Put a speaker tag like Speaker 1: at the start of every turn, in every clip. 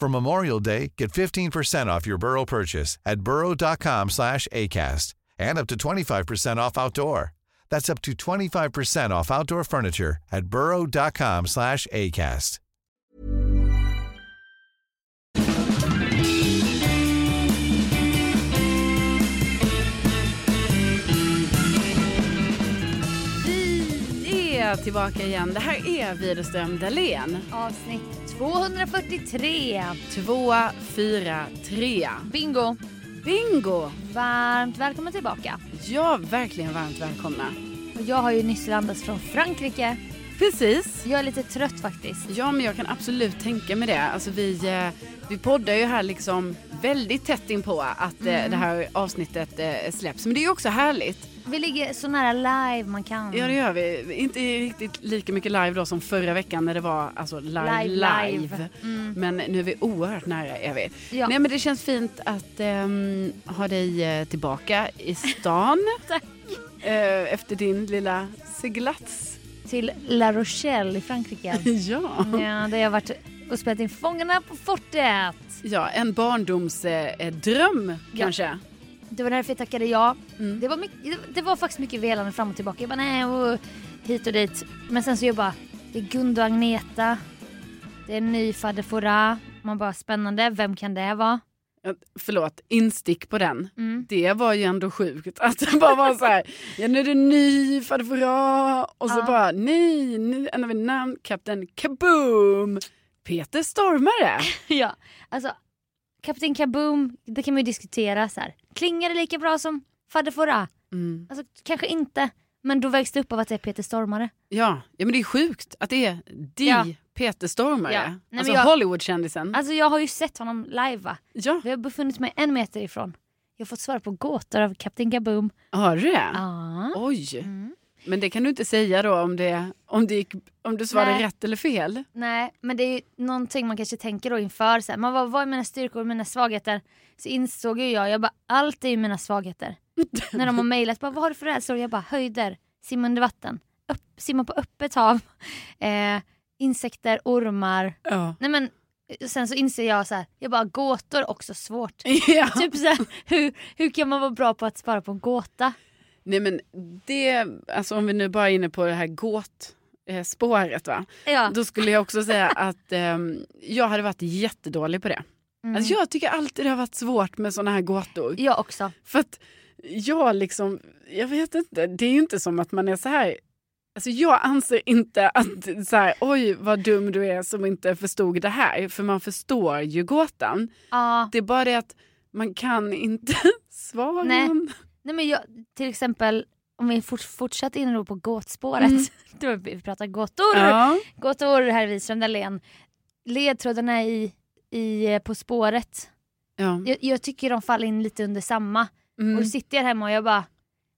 Speaker 1: For Memorial Day, get 15% off your Burrow purchase at burrow.com/acast and up to 25% off outdoor. That's up to 25% off outdoor furniture at burrow.com/acast.
Speaker 2: Vi är tillbaka igen. Det här är Widerström Dahlén.
Speaker 3: Avsnitt 243.
Speaker 2: 243.
Speaker 3: Bingo!
Speaker 2: Bingo!
Speaker 3: Varmt välkommen tillbaka.
Speaker 2: Ja, verkligen varmt välkomna.
Speaker 3: Och jag har ju nyss landat från Frankrike.
Speaker 2: Precis.
Speaker 3: Jag är lite trött faktiskt.
Speaker 2: Ja, men jag kan absolut tänka mig det. Alltså vi, eh, vi poddar ju här liksom väldigt tätt inpå att eh, det här avsnittet eh, släpps. Men det är ju också härligt.
Speaker 3: Vi ligger så nära live man kan.
Speaker 2: Ja, det gör vi. Inte riktigt lika mycket live då som förra veckan när det var alltså live,
Speaker 3: Live,
Speaker 2: live.
Speaker 3: live. Mm.
Speaker 2: Men nu är vi oerhört nära är vi.
Speaker 3: Ja.
Speaker 2: Nej, men det känns fint att ehm, ha dig eh, tillbaka i stan.
Speaker 3: Tack.
Speaker 2: Eh, efter din lilla seglats.
Speaker 3: Till La Rochelle i Frankrike.
Speaker 2: ja.
Speaker 3: ja, där jag har varit och spelat in Fångarna på fortet.
Speaker 2: ja, en barndomsdröm eh, dröm,
Speaker 3: Ja.
Speaker 2: kanske.
Speaker 3: Det var därför jag tackade ja.
Speaker 2: Mm.
Speaker 3: Det, var mycket, det var faktiskt mycket velande fram och tillbaka. Jag bara nej och hit och dit. Men sen så jag bara, det är Gun och Agneta. Det är en ny fader Fouras. Man bara spännande, vem kan det vara?
Speaker 2: Ja, Förlåt, instick på den.
Speaker 3: Mm.
Speaker 2: Det var ju ändå sjukt att det bara var så här, ja nu är det ny fadfura och så
Speaker 3: Ja.
Speaker 2: bara nej, nu ändrar vi namn, kapten kaboom, Peter Stormare.
Speaker 3: ja, alltså Kapten Kaboom, det kan man ju diskutera så här. Klingar det lika bra som fader Fouras?
Speaker 2: Mm.
Speaker 3: Alltså kanske inte. Men då vägs det upp av att det är Peter Stormare.
Speaker 2: Ja, ja, men det är sjukt att det är de
Speaker 3: Ja.
Speaker 2: Peter Stormare,
Speaker 3: Ja. Nej, men
Speaker 2: alltså
Speaker 3: jag-
Speaker 2: Hollywoodkändisen.
Speaker 3: Alltså jag har ju sett honom live va?
Speaker 2: Ja,
Speaker 3: Vi har befunnit mig en meter ifrån. Jag har fått svara på gåtor av Kapten Kaboom.
Speaker 2: har du det? Ah.
Speaker 3: Ja.
Speaker 2: Oj,
Speaker 3: Mm.
Speaker 2: men det kan du inte säga då om, det, om, det gick, om du svarade
Speaker 3: Nej.
Speaker 2: rätt eller fel.
Speaker 3: Nej, men det är ju någonting man kanske tänker då inför. Så här, man bara, vad är mina styrkor och mina svagheter? Så insåg ju jag, jag bara, allt är ju mina svagheter. När de har mejlat, bara, vad har du för rädslor? Jag bara, höjder, simma under vatten, upp, simma på öppet hav, eh, insekter, ormar.
Speaker 2: Ja.
Speaker 3: Nej men, eh, sen så inser jag så här, jag bara, gåtor också svårt.
Speaker 2: ja.
Speaker 3: typ så här, hur, hur kan man vara bra på att svara på en gåta?
Speaker 2: Nej men det, alltså om vi nu bara är inne på det här gåt eh, spåret va.
Speaker 3: Ja.
Speaker 2: Då skulle jag också säga att ehm, jag hade varit jättedålig på det.
Speaker 3: Mm.
Speaker 2: Alltså jag tycker alltid det har varit svårt med såna här gåtor.
Speaker 3: Jag också.
Speaker 2: För att jag liksom, jag vet inte, det är ju inte som att man är så här. Alltså jag anser inte att så här, oj vad dum du är som inte förstod det här. För man förstår ju gåtan.
Speaker 3: Ja.
Speaker 2: Det är bara det att man kan inte svaren.
Speaker 3: Nej. Nej men jag, till exempel om vi fort, fortsatt inne då på gåtspåret.
Speaker 2: Mm.
Speaker 3: Då vi pratar gåtor.
Speaker 2: Ja.
Speaker 3: Gåtor här Wiström Dahlén. Ledtrådarna i, i eh, På spåret.
Speaker 2: Ja.
Speaker 3: Jag, jag tycker de faller in lite under samma. Och
Speaker 2: Mm.
Speaker 3: då sitter jag hemma och jag bara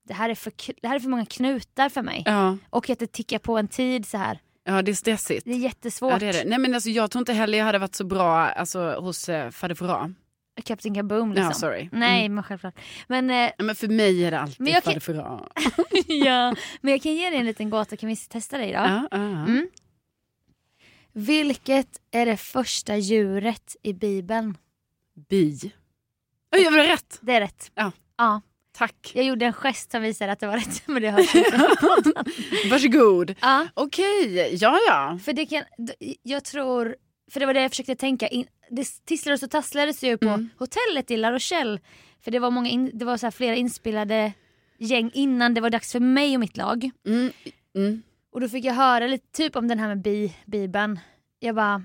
Speaker 3: det här, är för, kn- det här är för många knutar för mig.
Speaker 2: ja.
Speaker 3: Och att det tickar på en tid så här.
Speaker 2: ja, det är stressigt.
Speaker 3: Det är jättesvårt.
Speaker 2: Ja, det är det. Nej, men alltså, jag tror inte heller jag hade varit så bra alltså, hos eh, Fader Fouras.
Speaker 3: Kapten Kaboom
Speaker 2: Ja,
Speaker 3: liksom.
Speaker 2: sorry.
Speaker 3: Nej
Speaker 2: Mm.
Speaker 3: men självklart. Men, eh,
Speaker 2: Ja, men för mig är det alltid
Speaker 3: Men jag
Speaker 2: Fader
Speaker 3: kan-
Speaker 2: Fouras.
Speaker 3: ja. men jag kan ge dig en liten gåta, kan vi testa dig då?
Speaker 2: Ja, ja, ja.
Speaker 3: Mm. Vilket är det första djuret i Bibeln?
Speaker 2: Bi. Oj, jag blev rätt!
Speaker 3: Det är rätt.
Speaker 2: Ja.
Speaker 3: ja.
Speaker 2: Tack.
Speaker 3: Jag gjorde en gest som visar att det var rätt men det hörs inte.
Speaker 2: Varsågod.
Speaker 3: ja,
Speaker 2: Okej, ja ja.
Speaker 3: för det kan, d- jag tror, för det var det jag försökte tänka. In, det tisslades och tasslades ju på
Speaker 2: Mm.
Speaker 3: hotellet i La Rochelle. För det var, många in, det var så här flera inspelade gäng innan det var dags för mig och mitt lag.
Speaker 2: Mm. Mm.
Speaker 3: Och då fick jag höra lite typ om den här med bi, Bibeln. Jag bara,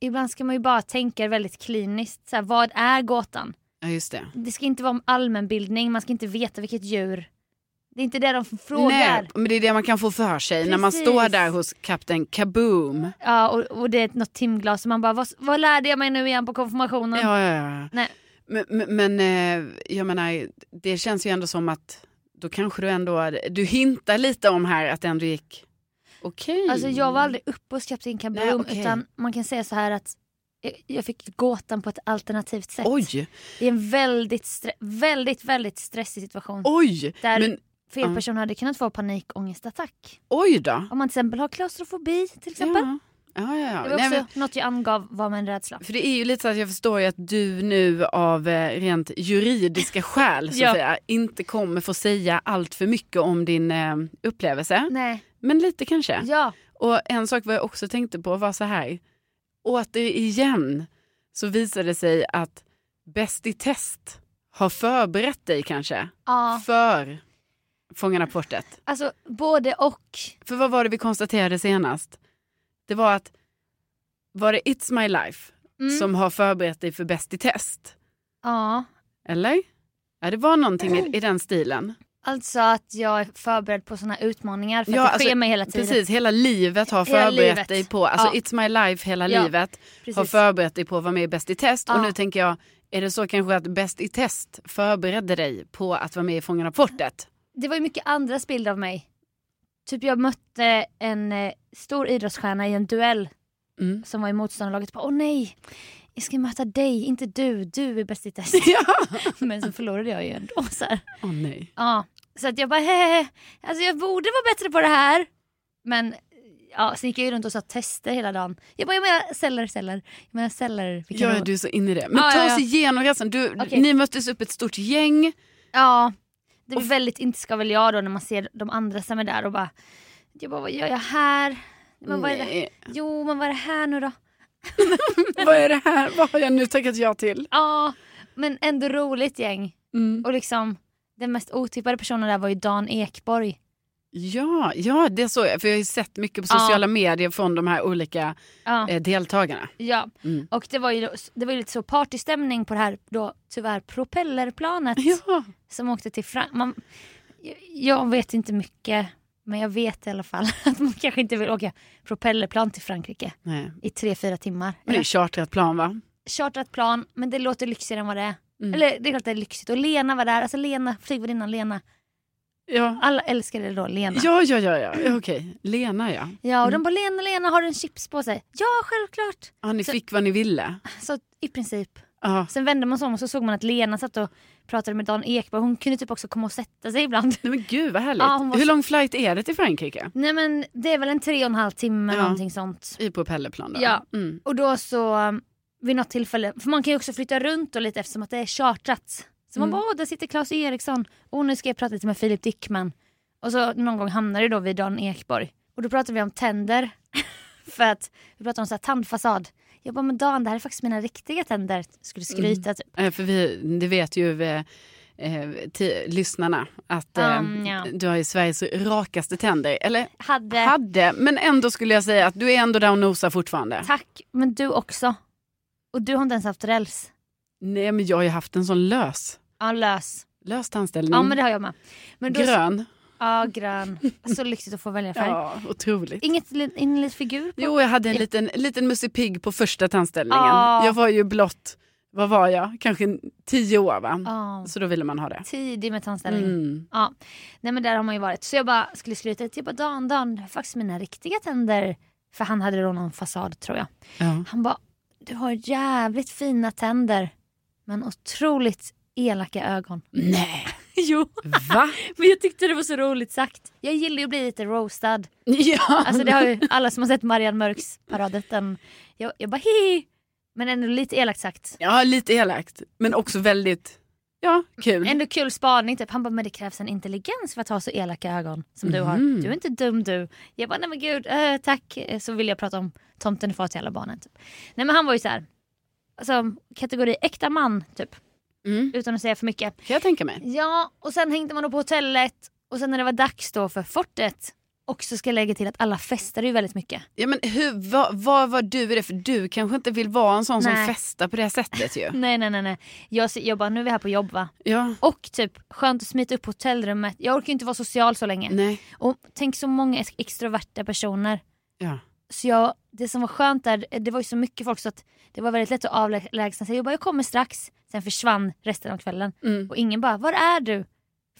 Speaker 3: ibland ska man ju bara tänka väldigt kliniskt. Så här, vad är gåtan?
Speaker 2: Ja just det.
Speaker 3: Det ska inte vara allmänbildning, man ska inte veta vilket djur. Det är inte det de frågar.
Speaker 2: Nej, men det är det man kan få för sig när man
Speaker 3: Precis.
Speaker 2: står där hos kapten Kaboom.
Speaker 3: Ja, och, och det är något timglas och man bara, vad, vad lärde jag mig nu igen på konfirmationen?
Speaker 2: Ja, ja, ja.
Speaker 3: Nej.
Speaker 2: Men, men eh, jag menar, det känns ju ändå som att då kanske du ändå, du hintar lite om här att det ändå gick okej.
Speaker 3: Alltså jag var aldrig uppe hos Kapten
Speaker 2: Nej,
Speaker 3: Kaboom
Speaker 2: okej.
Speaker 3: utan man kan säga så här att jag- jag fick gåtan på ett alternativt sätt.
Speaker 2: Oj,
Speaker 3: I en väldigt, stre- väldigt, väldigt stressig situation.
Speaker 2: oj,
Speaker 3: Där
Speaker 2: men
Speaker 3: fel
Speaker 2: ja.
Speaker 3: person hade kunnat få panikångestattack.
Speaker 2: oj då.
Speaker 3: Om man till exempel har klaustrofobi till exempel.
Speaker 2: Ja, ja, ja.
Speaker 3: Det var
Speaker 2: Nej,
Speaker 3: också
Speaker 2: men,
Speaker 3: något jag angav var med en rädsla.
Speaker 2: för det är ju lite så att jag förstår ju att du nu av eh, rent juridiska skäl så
Speaker 3: Ja.
Speaker 2: att säga, inte kommer få säga allt för mycket om din eh, upplevelse.
Speaker 3: Nej,
Speaker 2: Men lite kanske.
Speaker 3: ja.
Speaker 2: Och en sak vad jag också tänkte på var så här. Återigen så visade det sig att Bäst i test har förberett dig kanske
Speaker 3: ja.
Speaker 2: för Fångarna på fortet.
Speaker 3: Alltså både och.
Speaker 2: För vad var det vi konstaterade senast? Det var att var det It's My Life
Speaker 3: Mm.
Speaker 2: som har förberett dig för Bäst i test?
Speaker 3: Ja.
Speaker 2: Eller? Ja, det var någonting i, i den stilen.
Speaker 3: Alltså att jag är förberedd på såna utmaningar för
Speaker 2: Ja,
Speaker 3: att det
Speaker 2: alltså,
Speaker 3: sker mig hela tiden.
Speaker 2: Precis, hela livet har
Speaker 3: Hela
Speaker 2: förberett
Speaker 3: livet.
Speaker 2: dig på, alltså
Speaker 3: Ja.
Speaker 2: It's My Life hela
Speaker 3: Ja.
Speaker 2: livet.
Speaker 3: Precis.
Speaker 2: har förberett dig på att vara med i Bäst i test. Och
Speaker 3: Ja.
Speaker 2: nu tänker jag, är det så kanske att Bäst i test förberedde dig på att vara med i Fångarna på fortet?
Speaker 3: Det var ju mycket andras bild av mig. Typ jag mötte en eh, stor idrottsstjärna i en duell
Speaker 2: Mm.
Speaker 3: som var i motståndarlaget. Bara, Åh nej, jag ska möta dig, inte du. Du är bäst i test.
Speaker 2: Ja!
Speaker 3: Men så förlorade jag ju ändå. Så, här.
Speaker 2: Åh nej.
Speaker 3: Ja. så att jag bara hehehe, alltså jag borde vara bättre på det här. Men ja, sen gick jag ju runt och sa tester hela dagen. Jag bara, jag menar celler, celler. Jag menar celler. vilka
Speaker 2: Ja,
Speaker 3: då?
Speaker 2: du är så inne i det. Men
Speaker 3: Ja,
Speaker 2: ta
Speaker 3: ja,
Speaker 2: oss
Speaker 3: ja.
Speaker 2: igenom resten. Du,
Speaker 3: Okej.
Speaker 2: Ni möttes upp ett stort gäng.
Speaker 3: Ja, det blir väldigt inte ska väl jag då när man ser de andra som är där och bara, jag bara vad gör jag här? Men vad är det?
Speaker 2: Nej.
Speaker 3: Jo men vad är det här nu då?
Speaker 2: vad är det här? Vad har jag nu tackat ja till?
Speaker 3: Ja, men ändå roligt gäng.
Speaker 2: Mm.
Speaker 3: Och liksom den mest otippade personen där var ju Dan Ekborg.
Speaker 2: Ja, ja, det såg jag. För jag har ju sett mycket på
Speaker 3: Ja.
Speaker 2: sociala medier från de här olika
Speaker 3: Ja,
Speaker 2: eh, deltagarna.
Speaker 3: ja.
Speaker 2: Mm.
Speaker 3: och det var ju, det var ju lite så partystämning på det här då tyvärr propellerplanet
Speaker 2: Ja.
Speaker 3: som åkte till Frankrike. Jag vet inte mycket men jag vet i alla fall att man kanske inte vill åka propellerplan till Frankrike
Speaker 2: Nej.
Speaker 3: i tre fyra timmar.
Speaker 2: Men det är chartrat plan va?
Speaker 3: chartrat plan men det låter lyxigare än vad det är.
Speaker 2: Mm.
Speaker 3: Eller det är klart att det är lyxigt. Och Lena var där, alltså Lena, flygvärdinnan Lena.
Speaker 2: Ja,
Speaker 3: Alla älskade då Lena.
Speaker 2: ja, Mm. ja, ja. ja. Okej, Lena ja.
Speaker 3: Ja och de bara Lena, Lena har du en chips på sig? Ja självklart!
Speaker 2: ja. Ni
Speaker 3: Så-
Speaker 2: fick vad ni ville.
Speaker 3: Så i princip.
Speaker 2: Ja.
Speaker 3: Sen vände man sig om och så såg man att Lena satt och pratade med Dan Ekberg. Hon kunde typ också komma och sätta sig ibland.
Speaker 2: Nej men gud vad härligt.
Speaker 3: Ja, hon var
Speaker 2: Hur
Speaker 3: så-
Speaker 2: lång flight är det till Frankrike?
Speaker 3: Nej men det är väl en tre och en halv timme
Speaker 2: Ja.
Speaker 3: någonting sånt.
Speaker 2: I propellerplan då?
Speaker 3: Ja.
Speaker 2: Mm.
Speaker 3: Och då så um, vid något tillfälle, för man kan ju också flytta runt och lite eftersom att det är chartrat. Så man
Speaker 2: Mm.
Speaker 3: bara, åh där sitter Claes Eriksson, och nu ska jag prata lite med Filip Dickman. Och så någon gång hamnar det då vid Dan Ekborg. Och då pratar vi om tänder. för att vi pratar om så här tandfasad. Jag bara, men Dan det här är faktiskt mina riktiga tänder. Skulle skryta typ.
Speaker 2: Eh, För vi, det vet ju eh, eh, ti- lyssnarna att eh,
Speaker 3: Um, ja.
Speaker 2: du har ju Sveriges rakaste tänder. Eller
Speaker 3: Hade,
Speaker 2: hade, men ändå skulle jag säga att du är ändå där och nosar fortfarande.
Speaker 3: tack, men du också. Och du har inte ens haft räls.
Speaker 2: Nej men jag har ju haft en sån lös,
Speaker 3: Ja, lös.
Speaker 2: lös tandställning.
Speaker 3: Ja, men det har jag med. Men då,
Speaker 2: Grön.
Speaker 3: Ja, grön. Så lyxigt att få välja färg.
Speaker 2: Ja, otroligt.
Speaker 3: Inget, ingen liten figur på
Speaker 2: Jo, jag hade en liten, liten Musse Pigg på första tandställningen.
Speaker 3: Ah.
Speaker 2: Jag var ju blott, vad var jag, kanske tio år va?
Speaker 3: Ja,
Speaker 2: Så då ville man ha det.
Speaker 3: tidig med tandställningen.
Speaker 2: Mm.
Speaker 3: Ja. Nej men där har man ju varit. Så jag bara skulle skryta Typ lite. Jag bara Dan, Dan, det är faktiskt mina riktiga tänder. För han hade då någon fasad tror jag.
Speaker 2: Ja.
Speaker 3: Han bara, du har jävligt fina tänder. Men otroligt elaka ögon.
Speaker 2: Nej.
Speaker 3: jo,
Speaker 2: Va?
Speaker 3: men jag tyckte det var så roligt sagt. Jag gillar ju att bli lite roastad.
Speaker 2: Ja.
Speaker 3: Alltså det har ju alla som har sett Marianne Mörks paradrätten. Jag, jag bara hihi. Men ändå lite elakt sagt.
Speaker 2: ja, lite elakt. Men också väldigt ja, kul.
Speaker 3: Ändå kul spaning typ. Han bara, men det krävs en intelligens för att ha så elaka ögon som du har.
Speaker 2: Mhm.
Speaker 3: Du är inte dum du. Jag bara, nej men gud, eh, tack. Eh, Så vill jag prata om tomten är far till alla barnen. Typ. Nej men han var ju så här. Alltså kategori äkta man typ.
Speaker 2: Mm.
Speaker 3: Utan att säga för mycket.
Speaker 2: Kan jag tänka mig.
Speaker 3: Ja, och sen hängde man då på hotellet. Och sen när det var dags då för fortet. Också ska jag lägga till att alla festade ju väldigt mycket.
Speaker 2: Ja, men hur, vad, vad var du i det? För du kanske inte vill vara en sån
Speaker 3: Nej.
Speaker 2: som festar på det här sättet ju.
Speaker 3: Nej nej nej. nej. Jag, jag bara, nu är vi här på jobb va?
Speaker 2: Ja,
Speaker 3: Och typ skönt att smita upp på hotellrummet. Jag orkar ju inte vara social så länge.
Speaker 2: nej.
Speaker 3: Och tänk så många ex- extroverta personer.
Speaker 2: Ja.
Speaker 3: Så jag, det som var skönt där, eh, det var ju så mycket folk så att det var väldigt lätt att avlägsna sig. Jag bara, jag kommer strax. Sen försvann resten av kvällen.
Speaker 2: Mm.
Speaker 3: Och ingen bara, var är du?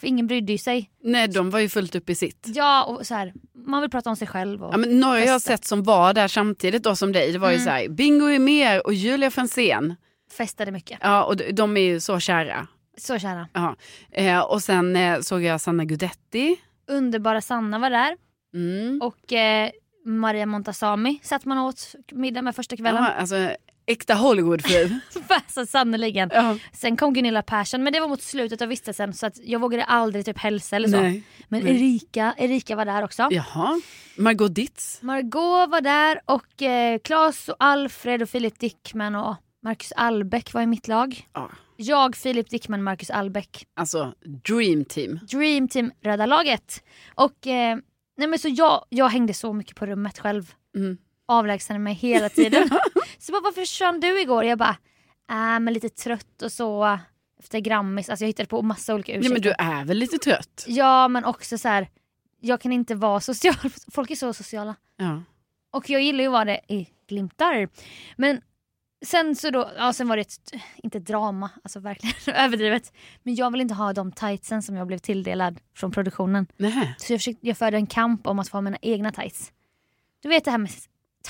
Speaker 3: För ingen brydde ju sig.
Speaker 2: Nej, de var ju fullt upp i sitt.
Speaker 3: Ja, och så här, man vill prata om sig själv. Och,
Speaker 2: Ja, men några jag har
Speaker 3: Festa.
Speaker 2: sett som var där samtidigt då som dig, det var ju
Speaker 3: Mm.
Speaker 2: så här, Bingo Rimér och Julia Franzén.
Speaker 3: Festade mycket.
Speaker 2: Ja, och de, de är ju så kära.
Speaker 3: Så kära.
Speaker 2: Eh, och sen eh, såg jag Sanna Gudetti.
Speaker 3: Underbara Sanna var där.
Speaker 2: Mm.
Speaker 3: Och eh, Maria Montazami satt man åt middag med första kvällen. Alltså,
Speaker 2: Ja, alltså, äkta Hollywoodfru.
Speaker 3: så sannerligen.
Speaker 2: ja.
Speaker 3: Sen kom Gunilla Persson men det var mot slutet av vistelsen så att jag vågade aldrig typ hälsa eller så.
Speaker 2: Nej.
Speaker 3: men
Speaker 2: nej.
Speaker 3: Erika, Erika var där också.
Speaker 2: Jaha, Margot Ditz.
Speaker 3: Margot var där och eh, Claes och Alfred och Filip Dickman och Marcus Albeck var i mitt lag.
Speaker 2: Ja.
Speaker 3: Jag, Filip Dickman, Marcus Albeck.
Speaker 2: Alltså dream team.
Speaker 3: Dream Team Röda laget. Och eh, nej men så jag, jag hängde så mycket på rummet själv.
Speaker 2: Mm.
Speaker 3: Avlägsnade mig hela tiden. så bara, varför försvann du igår? Jag bara, äh, men lite trött och så. Efter Grammis, alltså jag hittade på massa olika
Speaker 2: Nej,
Speaker 3: ursäkter.
Speaker 2: men du är väl lite trött?
Speaker 3: Ja men också så här. jag kan inte vara social. Folk är så sociala.
Speaker 2: Ja.
Speaker 3: Och jag gillar ju att vara det i glimtar. Men sen så då, ja sen var det ett, inte ett drama, alltså verkligen överdrivet. Men jag vill inte ha de tightsen som jag blev tilldelad från produktionen.
Speaker 2: Nej.
Speaker 3: Så jag, försökte, jag förde en kamp om att få ha mina egna tights. Du vet det här med,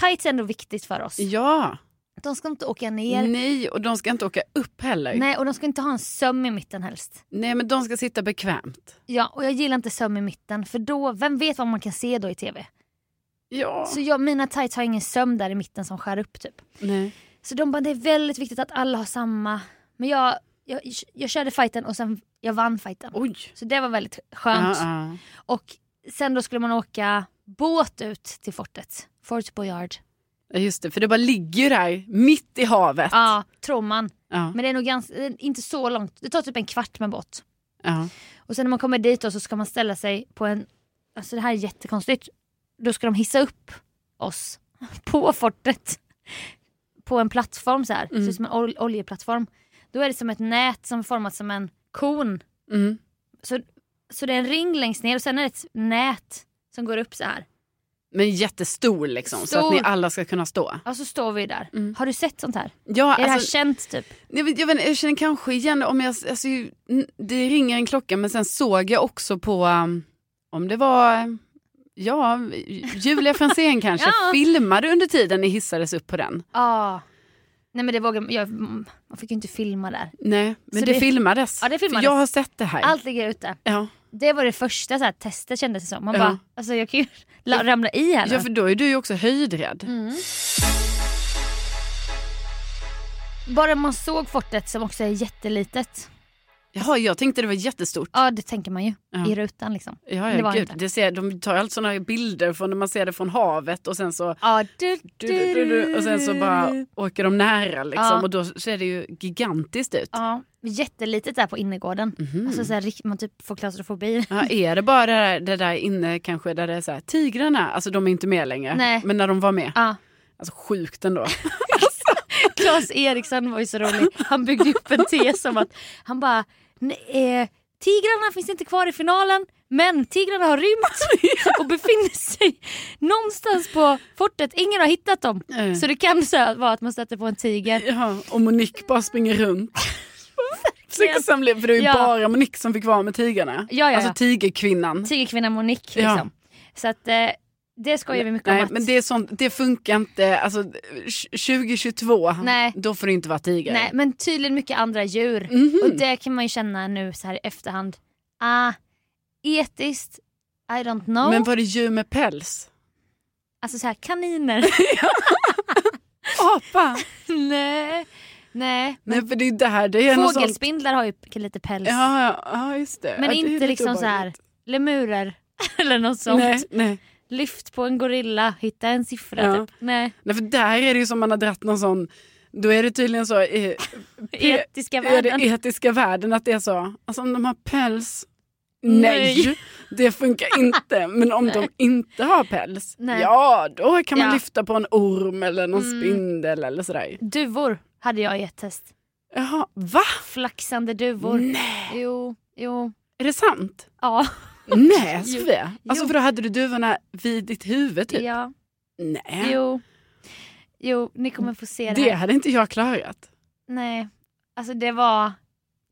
Speaker 3: tights är ändå viktigt för oss.
Speaker 2: Ja.
Speaker 3: De ska inte åka ner. Nej.
Speaker 2: Nej, och de ska inte åka upp heller. Nej.
Speaker 3: och de ska inte ha en söm i mitten helst.
Speaker 2: men de ska sitta bekvämt.
Speaker 3: Ja, och jag gillar inte söm i mitten för då, vem vet vad man kan se då i TV?
Speaker 2: Ja.
Speaker 3: Så jag, mina tights har ingen söm där i mitten som skär upp typ.
Speaker 2: Nej.
Speaker 3: Så de bara, det är väldigt viktigt att alla har samma. Men jag, jag, jag körde fighten och sen jag vann fighten.
Speaker 2: Oj.
Speaker 3: Så det var väldigt
Speaker 2: Ja,
Speaker 3: skönt.
Speaker 2: ja.
Speaker 3: Och sen då skulle man åka båt ut till fortet. Fort Boyard.
Speaker 2: Ja, Just det, för det bara ligger ju där mitt i havet.
Speaker 3: Ja, tror man.
Speaker 2: Ja,
Speaker 3: Men det är nog ganska, det är inte så långt. Det tar typ en kvart med båt.
Speaker 2: ja.
Speaker 3: Och sen när man kommer dit då så ska man ställa sig på en, alltså det här är jättekonstigt. Då ska de hissa upp oss på fortet. På en plattform så här,
Speaker 2: Mm.
Speaker 3: så som en ol- oljeplattform. Då är det som ett nät som är format som en kon.
Speaker 2: Mm.
Speaker 3: Så, så det är en ring längst ner och sen är det ett nät som går upp så här.
Speaker 2: Men jättestor liksom, så
Speaker 3: Stor.
Speaker 2: att ni alla ska kunna stå.
Speaker 3: Och så står vi där.
Speaker 2: Mm.
Speaker 3: Har du sett sånt här?
Speaker 2: Ja,
Speaker 3: Är det här
Speaker 2: alltså,
Speaker 3: känt typ?
Speaker 2: jag, vet, jag, vet, inte, jag känner kanske igen det om jag, alltså, ju- n- det ringer en klocka men sen såg jag också på, um, om det var, um, ja, Julia Franzén kanske,
Speaker 3: Ja.
Speaker 2: filmade under tiden ni hissades upp på den.
Speaker 3: Ja. Nej men det vågar jag, man fick ju inte filma där.
Speaker 2: Nej, men
Speaker 3: Så
Speaker 2: det,
Speaker 3: det-
Speaker 2: filmades.
Speaker 3: Ja, det
Speaker 2: För
Speaker 3: filmades.
Speaker 2: jag har sett det här.
Speaker 3: Allt ligger ute.
Speaker 2: Ja.
Speaker 3: Det var det första så här, testet kändes det som. Man
Speaker 2: Ja.
Speaker 3: bara, alltså jag kan ju la- ramla i här nu.
Speaker 2: ja, för Mm. då är du ju också höjdrädd.
Speaker 3: Mm. Bara man såg fortet som också är jättelitet.
Speaker 2: Jaha, jag tänkte det var jättestort.
Speaker 3: Ja det tänker man ju
Speaker 2: Ja.
Speaker 3: i rutan liksom.
Speaker 2: Ja,
Speaker 3: Det
Speaker 2: ja
Speaker 3: var
Speaker 2: gud.
Speaker 3: inte.
Speaker 2: Det ser, de tar allt såna här bilder från när man ser det från havet och sen så
Speaker 3: Ja, du,
Speaker 2: du, du, du, du, och sen så bara åker de nära liksom
Speaker 3: Ja.
Speaker 2: och då ser det ju gigantiskt ut.
Speaker 3: Ja, jättelitet där på innergården.
Speaker 2: Mhm.
Speaker 3: Alltså så här, rikt- man typ får klaustrofobi.
Speaker 2: Ja, är det bara det där, det där inne kanske där det är så här, tigrarna, alltså de är inte med längre,
Speaker 3: Nej.
Speaker 2: men när de var med,
Speaker 3: Ja.
Speaker 2: alltså sjukt ändå.
Speaker 3: Claes Eriksson var ju så rolig. Han byggde upp en tes om att han bara, "Nej, eh, tigrarna finns inte kvar i finalen men tigrarna har rymt och befinner sig någonstans på fortet. Ingen har hittat dem.
Speaker 2: Mm.
Speaker 3: Så det kan så här vara att man stöter på en tiger.
Speaker 2: ja, och Monique bara springer runt. Försöker samla för det är ju
Speaker 3: Ja.
Speaker 2: bara Monique som fick vara med tigrarna.
Speaker 3: Ja, ja,
Speaker 2: alltså
Speaker 3: ja.
Speaker 2: tigerkvinnan.
Speaker 3: Tigerkvinnan Monique
Speaker 2: Ja.
Speaker 3: liksom. Så att eh, det skojar vi mycket
Speaker 2: Nej,
Speaker 3: om. Att,
Speaker 2: men det, är sånt, det funkar inte. Alltså, 2022,
Speaker 3: Nej.
Speaker 2: då får det inte vara Mhm. tiger. Mm.
Speaker 3: nej, men tydligen mycket andra djur. Och det kan man ju känna nu så här i efterhand. Ah, etiskt, I don't know.
Speaker 2: Men var det djur med päls?
Speaker 3: Alltså så här, kaniner.
Speaker 2: Apa?
Speaker 3: nej. Nej.
Speaker 2: Nej för det är det här, det är något sånt.
Speaker 3: Fågelspindlar har ju lite päls.
Speaker 2: Ja, ja, ja just det.
Speaker 3: men
Speaker 2: ja, det är
Speaker 3: inte
Speaker 2: lite
Speaker 3: liksom så här
Speaker 2: obehagligt.
Speaker 3: lemurer eller något sånt.
Speaker 2: Nej, nej.
Speaker 3: Lyft på en gorilla, hitta en siffra
Speaker 2: Ja.
Speaker 3: typ. Nej.
Speaker 2: nej för där är det ju som man har dratt någon sån, då är det tydligen så i, Pe-
Speaker 3: Etiska
Speaker 2: i den
Speaker 3: värden.
Speaker 2: etiska världen att det är så, alltså om de har päls, nej,
Speaker 3: Nej.
Speaker 2: det funkar inte. Men om de inte har päls,
Speaker 3: Nej.
Speaker 2: ja då kan man
Speaker 3: Ja.
Speaker 2: lyfta på en orm eller någon
Speaker 3: Mm.
Speaker 2: spindel eller sådär.
Speaker 3: Duvor hade jag i ett test.
Speaker 2: Jaha, va?
Speaker 3: Flaxande duvor.
Speaker 2: Nej,
Speaker 3: Jo, jo,
Speaker 2: är det sant?
Speaker 3: ja.
Speaker 2: Nej
Speaker 3: Jo.
Speaker 2: Sofia, alltså
Speaker 3: Jo.
Speaker 2: för då hade du duvorna vid ditt huvud typ?
Speaker 3: ja.
Speaker 2: Nej.
Speaker 3: Jo. Jo, ni kommer få se det,
Speaker 2: Det
Speaker 3: här.
Speaker 2: hade inte jag klarat.
Speaker 3: Nej, alltså det var,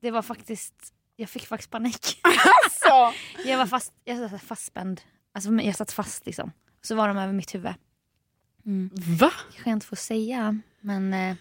Speaker 3: det var faktiskt, jag fick faktiskt panik.
Speaker 2: Alltså.
Speaker 3: Jag var fast, jag satt så här fastspänd. Alltså men jag satt fast liksom. Så var de över mitt huvud.
Speaker 2: Va?
Speaker 3: Kanske jag inte får säga, men eh,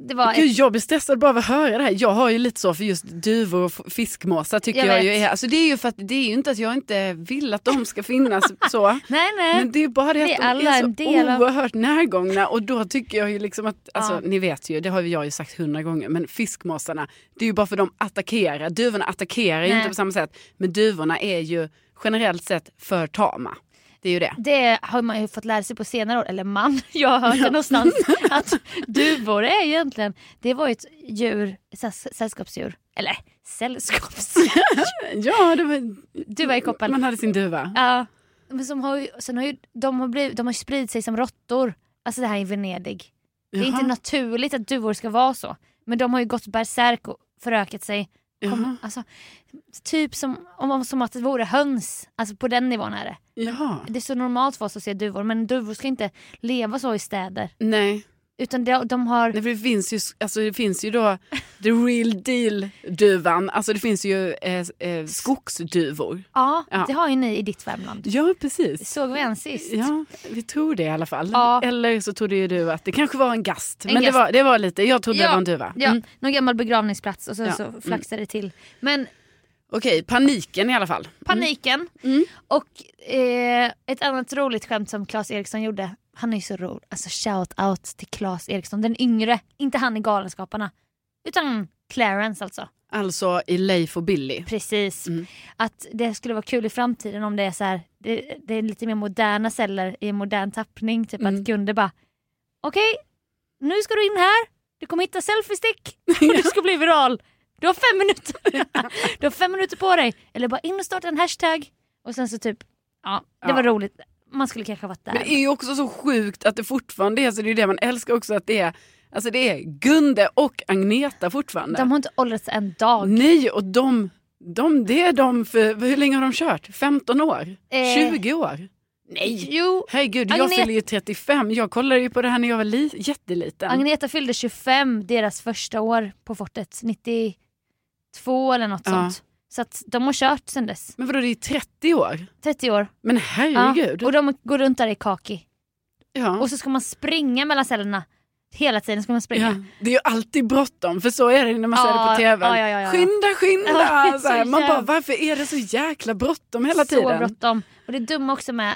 Speaker 3: det var
Speaker 2: Gud,
Speaker 3: ett,
Speaker 2: jag blir stressad bara av att höra det här. Jag har ju lite så för just duvor och f- fiskmåsar tycker
Speaker 3: Jag
Speaker 2: jag, ju
Speaker 3: vet.
Speaker 2: är... Alltså det är ju för att det är ju inte att jag inte vill att de ska finnas så.
Speaker 3: nej nej.
Speaker 2: Men det är ju bara det att
Speaker 3: Vi är
Speaker 2: de
Speaker 3: alla
Speaker 2: är så
Speaker 3: en del av-
Speaker 2: oerhört närgångna och då tycker jag ju liksom att, alltså
Speaker 3: Ja.
Speaker 2: ni vet ju, det har ju jag ju sagt hundra gånger, men fiskmåsarna, det är ju bara för de attackerar, duvorna attackerar ju
Speaker 3: Nej.
Speaker 2: inte på samma sätt, men duvorna är ju generellt sett för tama. Det är ju det.
Speaker 3: Det har man ju fått lära sig på senare år, eller man, jag har hört det någonstans. Att duvor är ju egentligen, det var ju ett djur, ett sä- sällskapsdjur. Eller sällskapsdjur,
Speaker 2: Ja, det var...
Speaker 3: duva i koppel.
Speaker 2: man hade sin duva.
Speaker 3: Ja. Men som har ju, sen har ju, de, har blivit, de har ju spridit sig som råttor. Alltså det här i Venedig. Det är
Speaker 2: Jaha.
Speaker 3: inte naturligt att duvor ska vara så. Men de har ju gått berserk och förökat sig.
Speaker 2: Jaha.
Speaker 3: Kom, alltså, typ som, om, om, som att det vore höns. Alltså på den nivån är det.
Speaker 2: Jaha.
Speaker 3: Det är så normalt för oss att se duvor men duvor ska inte leva så i städer.
Speaker 2: Nej.
Speaker 3: Utan de, de har...
Speaker 2: Nej, för det finns ju, alltså det finns ju då the real deal duvan, alltså det finns ju eh, eh, skogsduvor.
Speaker 3: Ja,
Speaker 2: Ja.
Speaker 3: det har ju ni i ditt Värmland.
Speaker 2: Ja, precis.
Speaker 3: Såg vi en sist?
Speaker 2: Ja, Mm. vi tror det i alla fall.
Speaker 3: Ja.
Speaker 2: Eller så trodde ju du att det kanske var en gast.
Speaker 3: En
Speaker 2: men
Speaker 3: gast.
Speaker 2: Det, var, det var lite, jag trodde
Speaker 3: Ja,
Speaker 2: det var en duva.
Speaker 3: Ja,
Speaker 2: Mm.
Speaker 3: någon gammal begravningsplats och sen
Speaker 2: Ja,
Speaker 3: så
Speaker 2: mm.
Speaker 3: flaxade det till. Men
Speaker 2: Okej, paniken i alla fall.
Speaker 3: paniken.
Speaker 2: Mm.
Speaker 3: Och eh, ett annat roligt skämt som Claes Eriksson gjorde. Han är ju så rolig. Alltså shout out till Claes Eriksson, den yngre. Inte han i Galenskaparna. Utan Clarence alltså.
Speaker 2: Alltså i Leif och Billy.
Speaker 3: Precis.
Speaker 2: Mm.
Speaker 3: Att det skulle vara kul i framtiden om det är så här, det, det är lite mer moderna celler i en modern tappning. Typ
Speaker 2: Mm.
Speaker 3: att Gunde bara, okej, nu ska du in här, du kommer hitta selfiestick och du ska bli viral. Du har fem minuter Du har fem minuter på dig. Eller bara in och starta en hashtag. Och sen så typ, ja, det
Speaker 2: Ja.
Speaker 3: var roligt. Man skulle kanske ha varit där.
Speaker 2: Men det är ju också så sjukt att det fortfarande är så. Det är ju det man älskar också att det är, alltså det är Gunde och Agneta fortfarande.
Speaker 3: De har inte åldrats en dag.
Speaker 2: Nej, och de, de, det är de för, hur länge har de kört? 15 år?
Speaker 3: Eh.
Speaker 2: 20 år? Nej!
Speaker 3: Jo,
Speaker 2: Herregud, jag
Speaker 3: Agne-
Speaker 2: fyller ju 35. Jag kollade ju på det här när jag var li- jätteliten.
Speaker 3: Agneta fyllde 25 deras första år på fortet, 92 eller något
Speaker 2: Ja.
Speaker 3: sånt. Så att de har kört sen dess,
Speaker 2: Men vadå, det är 30 år?
Speaker 3: 30 år.
Speaker 2: Men
Speaker 3: Ja.
Speaker 2: herregud.
Speaker 3: Och de går runt där i kaki.
Speaker 2: Ja.
Speaker 3: Och så ska man springa mellan cellerna. Hela tiden ska man springa.
Speaker 2: ja. Det är ju alltid bråttom, för så är det när man ser det
Speaker 3: Ja,
Speaker 2: på tv.
Speaker 3: ja, ja, ja, ja.
Speaker 2: Skynda, skynda!
Speaker 3: Ja, det är
Speaker 2: så här.
Speaker 3: så
Speaker 2: Man bara,
Speaker 3: jävla-
Speaker 2: varför är det så jäkla bråttom hela
Speaker 3: Så
Speaker 2: tiden?
Speaker 3: bråttom. Och det dumma också med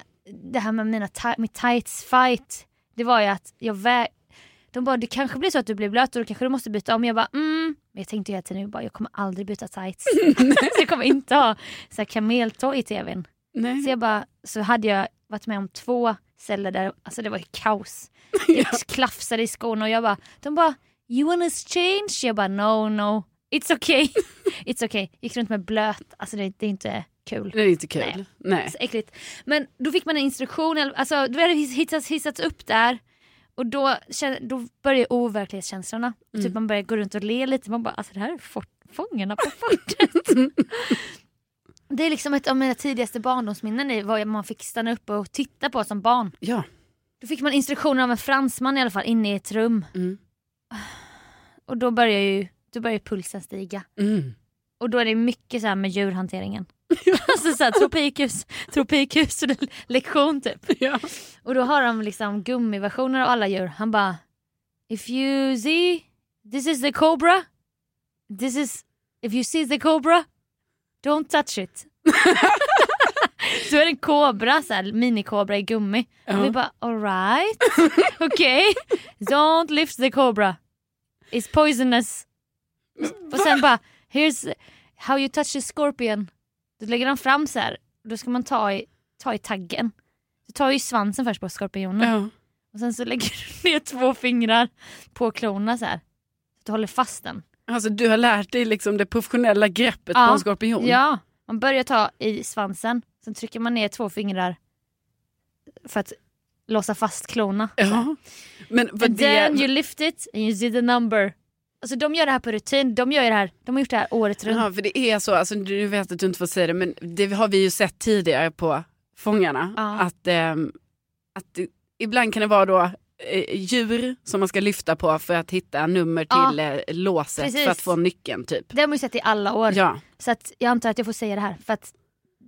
Speaker 3: det här med mina ti- mitt tights fight, det var ju att jag vä- de bara, det kanske blir så att du blir blöt och då kanske du måste byta om. Jag bara, mm. Men jag tänkte ju hela tiden, jag, bara, jag kommer aldrig byta tights. så jag kommer inte ha så här kameltå i tvn.
Speaker 2: Nej.
Speaker 3: Så jag bara, så hade jag varit med om två celler där, alltså det var ju kaos. Det klafsade i skorna och jag bara, de bara “you wanna change?” Jag bara “no, no, it's okay, it's okay”. Gick runt med blöt, alltså det, det är inte kul.
Speaker 2: Det är inte kul.
Speaker 3: Nej.
Speaker 2: Nej.
Speaker 3: Så äckligt. Men då fick man en instruktion, eller- alltså då hade det hissats, hissats upp där och då, kände- då börjar overklighetskänslorna. Typ man börjar gå runt och le lite, man bara alltså det här är fort, fångarna på fortet. det är liksom ett av mina tidigaste barndomsminnen i vad man fick stanna upp och titta på som barn.
Speaker 2: Ja.
Speaker 3: Då fick man instruktioner av en fransman i alla fall inne i ett rum
Speaker 2: Mm.
Speaker 3: och då börjar ju, då börjar ju pulsen stiga.
Speaker 2: Mm.
Speaker 3: Och då är det mycket så här med djurhanteringen. alltså så här, tropikhus, tropikhus och det- lektion typ.
Speaker 2: Ja.
Speaker 3: Och då har de liksom gummiversioner av alla djur. Han bara If you see this is the cobra This is If you see the cobra Don't touch it. så är det en kobra, så här, minikobra i gummi. Och vi bara alright, okej. Don't lift the cobra. It's poisonous. Och sen bara, here's how you touch a scorpion. Då lägger han fram så här. då ska man ta i, ta i taggen. Du tar ju svansen först på skorpionen
Speaker 2: Ja.
Speaker 3: och sen så lägger du ner två fingrar på klorna så här. Så att du håller fast den.
Speaker 2: Alltså du har lärt dig liksom det professionella greppet
Speaker 3: Ja.
Speaker 2: på en skorpion.
Speaker 3: Ja, man börjar ta i svansen, sen trycker man ner två fingrar för att låsa fast klorna.
Speaker 2: Ja. Men vad
Speaker 3: And then
Speaker 2: det...
Speaker 3: you lift it and you see the number. Alltså de gör det här på rutin, de gör ju det här, de har gjort det här året runt.
Speaker 2: Ja, för det är så, alltså, du vet att du inte får säga det, men det har vi ju sett tidigare på Fångarna.
Speaker 3: Ja.
Speaker 2: Att, ehm, att det, ibland kan det vara då eh, djur som man ska lyfta på för att hitta nummer
Speaker 3: Ja.
Speaker 2: till eh, låset
Speaker 3: Precis.
Speaker 2: för att få nyckeln typ.
Speaker 3: Det har man ju sett i alla år.
Speaker 2: Ja,
Speaker 3: Så att jag antar att jag får säga det här för att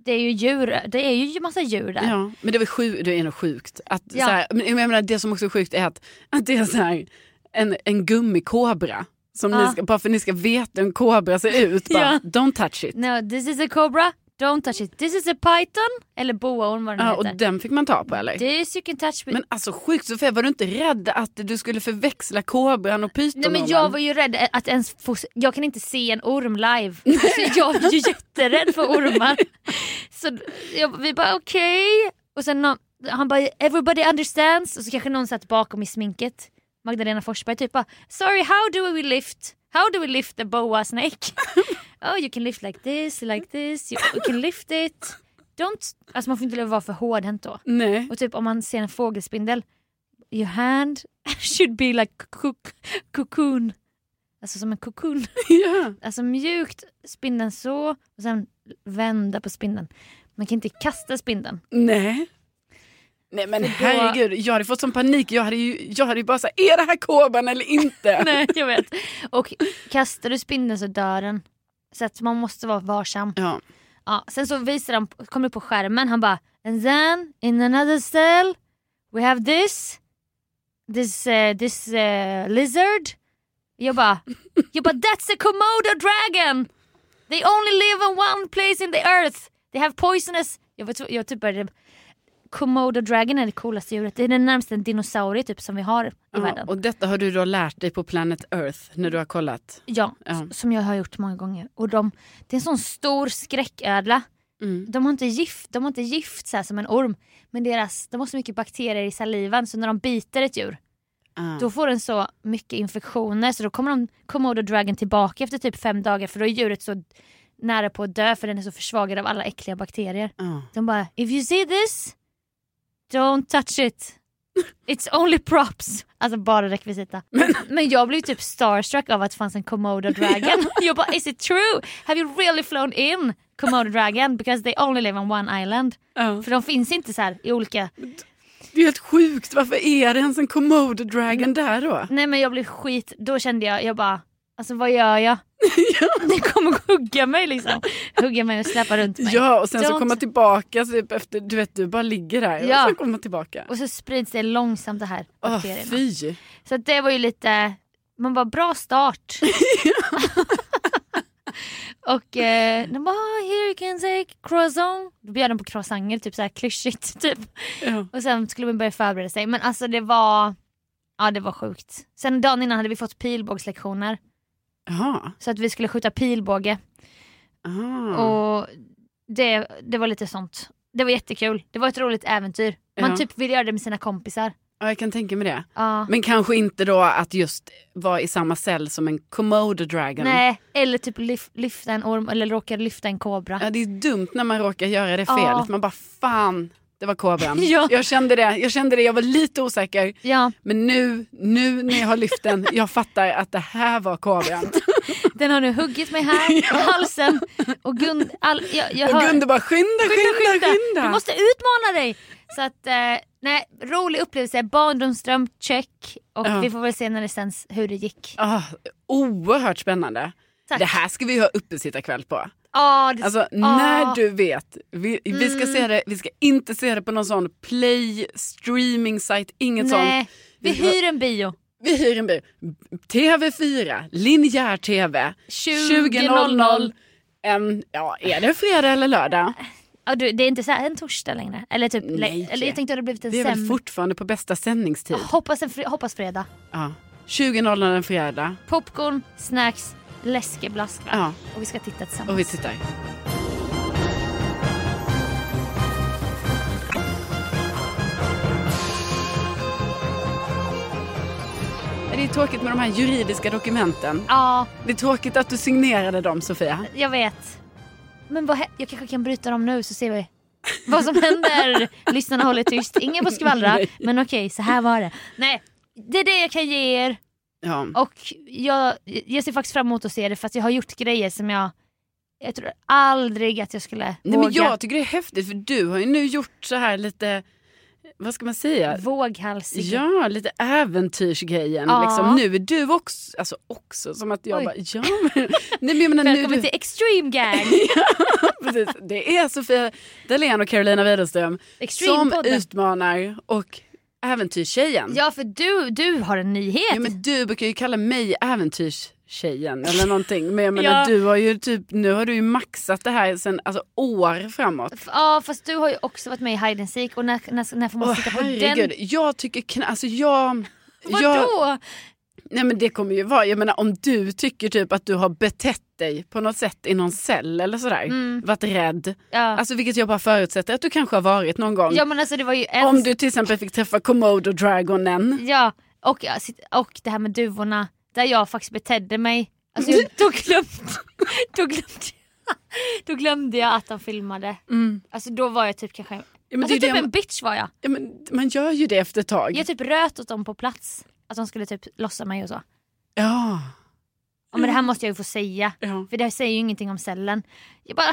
Speaker 3: det är ju djur, det är ju massa djur där.
Speaker 2: ja, men det är väl sju, det är nog sjukt. Att,
Speaker 3: Ja.
Speaker 2: så här, men jag menar, det som också är sjukt är att, att det är så här, en, en gummikobra. Som
Speaker 3: Ja.
Speaker 2: ni ska, bara för att ni ska veta hur en kobra ser ut. Bara,
Speaker 3: Ja.
Speaker 2: Don't touch it.
Speaker 3: No, this is a cobra, don't touch it. This is a python, eller boaorm vad den
Speaker 2: Ja,
Speaker 3: heter.
Speaker 2: och den fick man ta på eller?
Speaker 3: This you can touch with
Speaker 2: Men alltså sjukt Sofia, var du inte rädd att du skulle förväxla kobran och
Speaker 3: Nej
Speaker 2: pytonormen?
Speaker 3: men jag var ju rädd att ens få, jag kan inte se en orm live. Så jag var ju jätterädd för ormar. Så jag, vi bara okej. Och sen någon, han bara everybody understands och så kanske någon satt bakom i sminket. Magdalena Forsberg typ bara sorry how do we lift? How do we lift the boa snake? oh you can lift like this, like this, you, you can lift it. Don't, alltså man får inte vara för hårdhänt då.
Speaker 2: Nej.
Speaker 3: Och typ om man ser en fågelspindel, your hand should be like cook, cocoon. Alltså som en cocoon.
Speaker 2: Ja.
Speaker 3: Alltså mjukt, spindeln så och sen vända på spindeln. Man kan inte kasta spindeln.
Speaker 2: Nej. Nej men
Speaker 3: För då-
Speaker 2: herregud, jag hade fått sån panik. Jag hade ju, jag hade ju bara såhär, är det här kobran eller inte?
Speaker 3: Nej, jag vet. Och kastar du spindeln så dör den. Så att man måste vara varsam.
Speaker 2: Ja.
Speaker 3: Ja, sen så visar han, kommer upp på skärmen, han bara And then in another cell we have this, this, eh, this eh, lizard. Jag bara, jag bara that's a komodo dragon! They only live in one place in the earth. They have poisonous... Jag, vet, jag typ började... Komodo dragon är det coolaste djuret. Det är den närmaste en dinosaurie typ som vi har i
Speaker 2: ja.
Speaker 3: världen.
Speaker 2: Och detta har du då lärt dig på Planet Earth när du har kollat?
Speaker 3: Ja,
Speaker 2: Ja.
Speaker 3: s- som jag har gjort många gånger. Och de, det är en sån stor skräcködla. De har inte gift, de har inte gift så här som en orm. Men deras, de har så mycket bakterier i salivan så när de biter ett djur
Speaker 2: Ah.
Speaker 3: då får den så mycket infektioner så då kommer de, Komodo Dragon tillbaka efter typ fem dagar för då är djuret så nära på att dö för den är så försvagad av alla äckliga bakterier.
Speaker 2: Ja.
Speaker 3: De bara “If you see this, don't touch it. It's only props”. Alltså bara rekvisita. Men, jag blev typ starstruck av att det fanns en Komodo Dragon. jag bara “Is it true? Have you really flown in Komodo Dragon? Because they only live on one island”.
Speaker 2: Ja.
Speaker 3: För de finns inte så här i olika...
Speaker 2: Det är helt sjukt, varför är det ens en komodo
Speaker 3: Mm.
Speaker 2: dragon där då?
Speaker 3: Nej men jag blev skit... Då kände jag, jag bara “Alltså vad gör jag?” Det kommer hugga mig liksom. Hugga mig och släpa runt mig.
Speaker 2: Ja, och sen så
Speaker 3: Don't-
Speaker 2: kommer man tillbaka typ efter, du vet du bara ligger där
Speaker 3: Ja.
Speaker 2: och sen kommer man tillbaka.
Speaker 3: Och så sprids det långsamt det här
Speaker 2: Åh
Speaker 3: bakterierna.
Speaker 2: fy.
Speaker 3: Så att det var ju lite, man bara bra start. och eh, de bara "Ah, here you can take croissant. Då bjöd de på croissanter, typ såhär klyschigt. Typ.
Speaker 2: Ja.
Speaker 3: Och sen skulle man börja förbereda sig. Men alltså det var, ja det var sjukt. Sen dagen innan hade vi fått pilbågslektioner.
Speaker 2: Jaha.
Speaker 3: Så att vi skulle skjuta pilbåge.
Speaker 2: Ah.
Speaker 3: Och det, det var lite sånt. Det var jättekul. Det var ett roligt äventyr. Man
Speaker 2: Ja.
Speaker 3: typ vill göra det med sina kompisar.
Speaker 2: Ja, jag kan tänka mig det.
Speaker 3: Ja.
Speaker 2: Men kanske inte då att just vara i samma cell som en komodo dragon.
Speaker 3: Nej, eller typ lyf, lyfta en orm eller råka lyfta en kobra.
Speaker 2: Ja, det är dumt när man råkar göra det
Speaker 3: Ja.
Speaker 2: fel. Man bara fan, det var kobran.
Speaker 3: Ja.
Speaker 2: Jag kände det, jag kände det, jag var lite osäker.
Speaker 3: Ja,
Speaker 2: Men nu, nu när jag har lyft den, jag fattar att det här var kobran.
Speaker 3: den har nu huggit mig här i halsen. Och Gun, all, jag, jag
Speaker 2: Och
Speaker 3: hör,
Speaker 2: Gunde bara skynda, skynda,
Speaker 3: Du
Speaker 2: skynda.
Speaker 3: måste utmana dig! Så att, eh, nej, rolig upplevelse. Barndomsdröm, check. Och
Speaker 2: Ja.
Speaker 3: vi får väl se när det sänds hur det gick. Ja,
Speaker 2: Ah, oerhört spännande.
Speaker 3: Tack.
Speaker 2: Det här ska vi ha uppesittarkväll på.
Speaker 3: det, Ah. Mm.
Speaker 2: Alltså
Speaker 3: ja.
Speaker 2: när du vet. Vi, vi, ska se det, vi ska inte se det på någon sån play streaming site, inget sånt.
Speaker 3: nej, Vi
Speaker 2: Vi ska-
Speaker 3: hyr en bio.
Speaker 2: Vi hyr en bil. TV4, linjär TV,
Speaker 3: 20.00.
Speaker 2: en, ja, är det fredag eller lördag?
Speaker 3: Ja, du, det är inte så här en torsdag längre. Eller typ,
Speaker 2: Nej.
Speaker 3: eller jag tänkte att det blivit en
Speaker 2: Det är väl typ.
Speaker 3: sämre.
Speaker 2: fortfarande på bästa sändningstid?
Speaker 3: Hoppas, en fre- hoppas fredag.
Speaker 2: Ja. 20.00 en fredag.
Speaker 3: Popcorn, snacks, läskeblask. va?
Speaker 2: Ja,
Speaker 3: Och vi ska titta tillsammans.
Speaker 2: och vi tittar. Det är tråkigt med de här juridiska dokumenten.
Speaker 3: Ja,
Speaker 2: Det är tråkigt att du signerade dem, Sofia.
Speaker 3: jag vet. Men vad, hä- jag kanske kan bryta dem nu så ser vi vad som händer. Lyssnarna håller tyst. Ingen får skvallra.
Speaker 2: Nej.
Speaker 3: Men okej, så här var det. Nej, det är det jag kan ge er.
Speaker 2: Ja.
Speaker 3: Och jag, jag ser faktiskt fram emot att se det för att jag har gjort grejer som jag jag tror aldrig att jag skulle
Speaker 2: Nej, men
Speaker 3: våga.
Speaker 2: jag tycker det är häftigt för du har ju nu gjort så här lite, vad ska man säga?
Speaker 3: Våghalsig.
Speaker 2: Ja, lite äventyrsgrejen.
Speaker 3: Ja.
Speaker 2: Liksom. Nu är du också, alltså också, som att jag
Speaker 3: Oj.
Speaker 2: bara, ja men. Nej, men jag menar, nu, du,
Speaker 3: Välkommen till Extreme Gang!
Speaker 2: precis, det är Sofia Dalén och Carolina Widerström som
Speaker 3: Extreme-podden.
Speaker 2: utmanar och äventyrstjejen.
Speaker 3: Ja för du, du har en nyhet.
Speaker 2: Ja, men du brukar ju kalla mig äventyrstjejen eller någonting. Men jag menar,
Speaker 3: Ja.
Speaker 2: du har ju typ, nu har du ju maxat det här sen alltså, år framåt.
Speaker 3: F- Ja fast du har ju också varit med i Hide and Seek och när, när, när får man
Speaker 2: Åh
Speaker 3: sitta på
Speaker 2: herregud,
Speaker 3: den?
Speaker 2: jag tycker knappt, alltså jag... jag
Speaker 3: Vadå?
Speaker 2: nej men det kommer ju vara, jag menar om du tycker typ att du har betett dig på något sätt i någon cell eller sådär, varit rädd,
Speaker 3: Mm. Ja.
Speaker 2: alltså vilket jag bara förutsätter att du kanske har varit någon gång.
Speaker 3: ja men alltså det var ju en...
Speaker 2: Om du till exempel fick träffa Komodo-dragonen.
Speaker 3: Ja och, jag sitt- och det här med duvorna där jag faktiskt betedde mig. Alltså jag, då, glömde, då, glömde jag, då glömde jag att de filmade. Alltså då var jag typ kanske...
Speaker 2: Ja, Mm. men det är
Speaker 3: alltså
Speaker 2: ju
Speaker 3: typ
Speaker 2: det
Speaker 3: en
Speaker 2: man-
Speaker 3: bitch var jag.
Speaker 2: Ja, men man gör ju det efter ett tag.
Speaker 3: Jag typ röt åt dem på plats. Att de skulle typ lossa mig och så.
Speaker 2: Ja.
Speaker 3: Ja, men det här
Speaker 2: Mm.
Speaker 3: måste jag ju få säga.
Speaker 2: ja.
Speaker 3: För det här säger ju ingenting om cellen. Jag bara,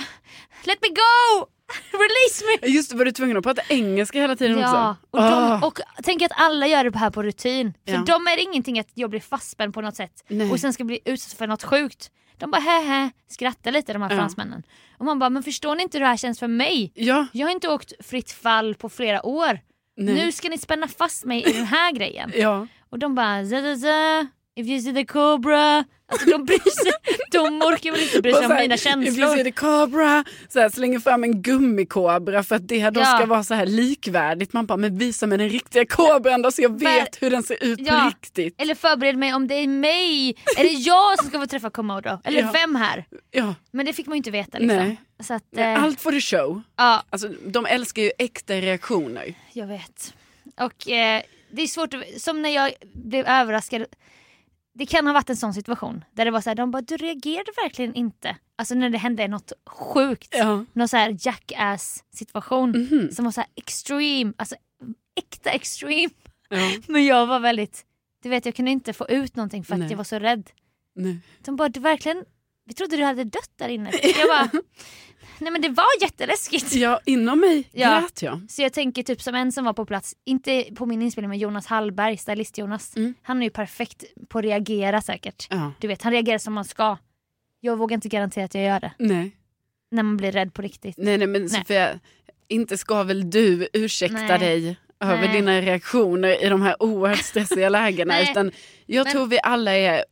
Speaker 3: let me go! Release me!
Speaker 2: Just det, var du tvungen att prata engelska hela tiden
Speaker 3: Ja,
Speaker 2: också?
Speaker 3: och, de,
Speaker 2: Ah.
Speaker 3: och tänk att alla gör det här på rutin. För
Speaker 2: Ja.
Speaker 3: de är det ingenting att jag blir fastspänd på något sätt
Speaker 2: Nej.
Speaker 3: och sen ska bli utsatt för något sjukt. De bara hä skrattar lite de här
Speaker 2: Ja.
Speaker 3: fransmännen. Och man bara, men förstår ni inte hur det här känns för mig?
Speaker 2: Ja,
Speaker 3: Jag har inte åkt fritt fall på flera år.
Speaker 2: nej.
Speaker 3: Nu ska ni spänna fast mig i den här grejen.
Speaker 2: Ja.
Speaker 3: Och de bara, zä, zä, zä, if you see the cobra. Alltså de bryr sig, de orkar väl inte bry sig om mina
Speaker 2: If you see
Speaker 3: känslor.
Speaker 2: the cobra, så här, slänger fram en gummikobra för att det här då
Speaker 3: Ja.
Speaker 2: ska vara så här likvärdigt. Man bara, men visa mig den riktiga kobran då så jag
Speaker 3: Ver-
Speaker 2: vet hur den ser ut
Speaker 3: Ja.
Speaker 2: på riktigt.
Speaker 3: Eller förbered mig om det är mig, är det jag som ska få träffa Komodo? Eller
Speaker 2: Ja.
Speaker 3: vem här?
Speaker 2: Ja.
Speaker 3: Men det fick man ju inte veta liksom.
Speaker 2: Nej.
Speaker 3: Så att,
Speaker 2: Nej,
Speaker 3: eh,
Speaker 2: Allt för the show.
Speaker 3: ja,
Speaker 2: Alltså, de älskar ju äkta reaktioner.
Speaker 3: jag vet. Och eh, det är svårt, att, som när jag blev överraskad. Det kan ha varit en sån situation där det var så här, de bara du reagerade verkligen inte. Alltså när det hände något sjukt.
Speaker 2: Ja. Mm.
Speaker 3: Någon så här jackass situation
Speaker 2: Mhm.
Speaker 3: som var så här extreme, alltså äkta extreme.
Speaker 2: Ja.
Speaker 3: Men jag var väldigt, du vet jag kunde inte få ut någonting för att
Speaker 2: Nej.
Speaker 3: jag var så rädd.
Speaker 2: Nej.
Speaker 3: De bara, du verkligen, vi trodde du hade dött där inne. Jag bara, nej men det var jätteläskigt.
Speaker 2: ja, inom mig
Speaker 3: Ja.
Speaker 2: grät jag.
Speaker 3: Så jag tänker typ som en som var på plats, inte på min inspelning men Jonas Hallberg, stylist Jonas.
Speaker 2: Mm.
Speaker 3: Han är ju perfekt på att reagera säkert.
Speaker 2: Ja.
Speaker 3: Du vet, han reagerar som man ska. Jag vågar inte garantera att jag gör det.
Speaker 2: Nej.
Speaker 3: När man blir rädd på riktigt.
Speaker 2: nej, nej men Sofia, inte ska väl du ursäkta
Speaker 3: Nej.
Speaker 2: dig över
Speaker 3: Nej.
Speaker 2: dina reaktioner i de här oerhört stressiga lägena.
Speaker 3: Nej.
Speaker 2: Utan jag
Speaker 3: Men-
Speaker 2: tror vi alla är,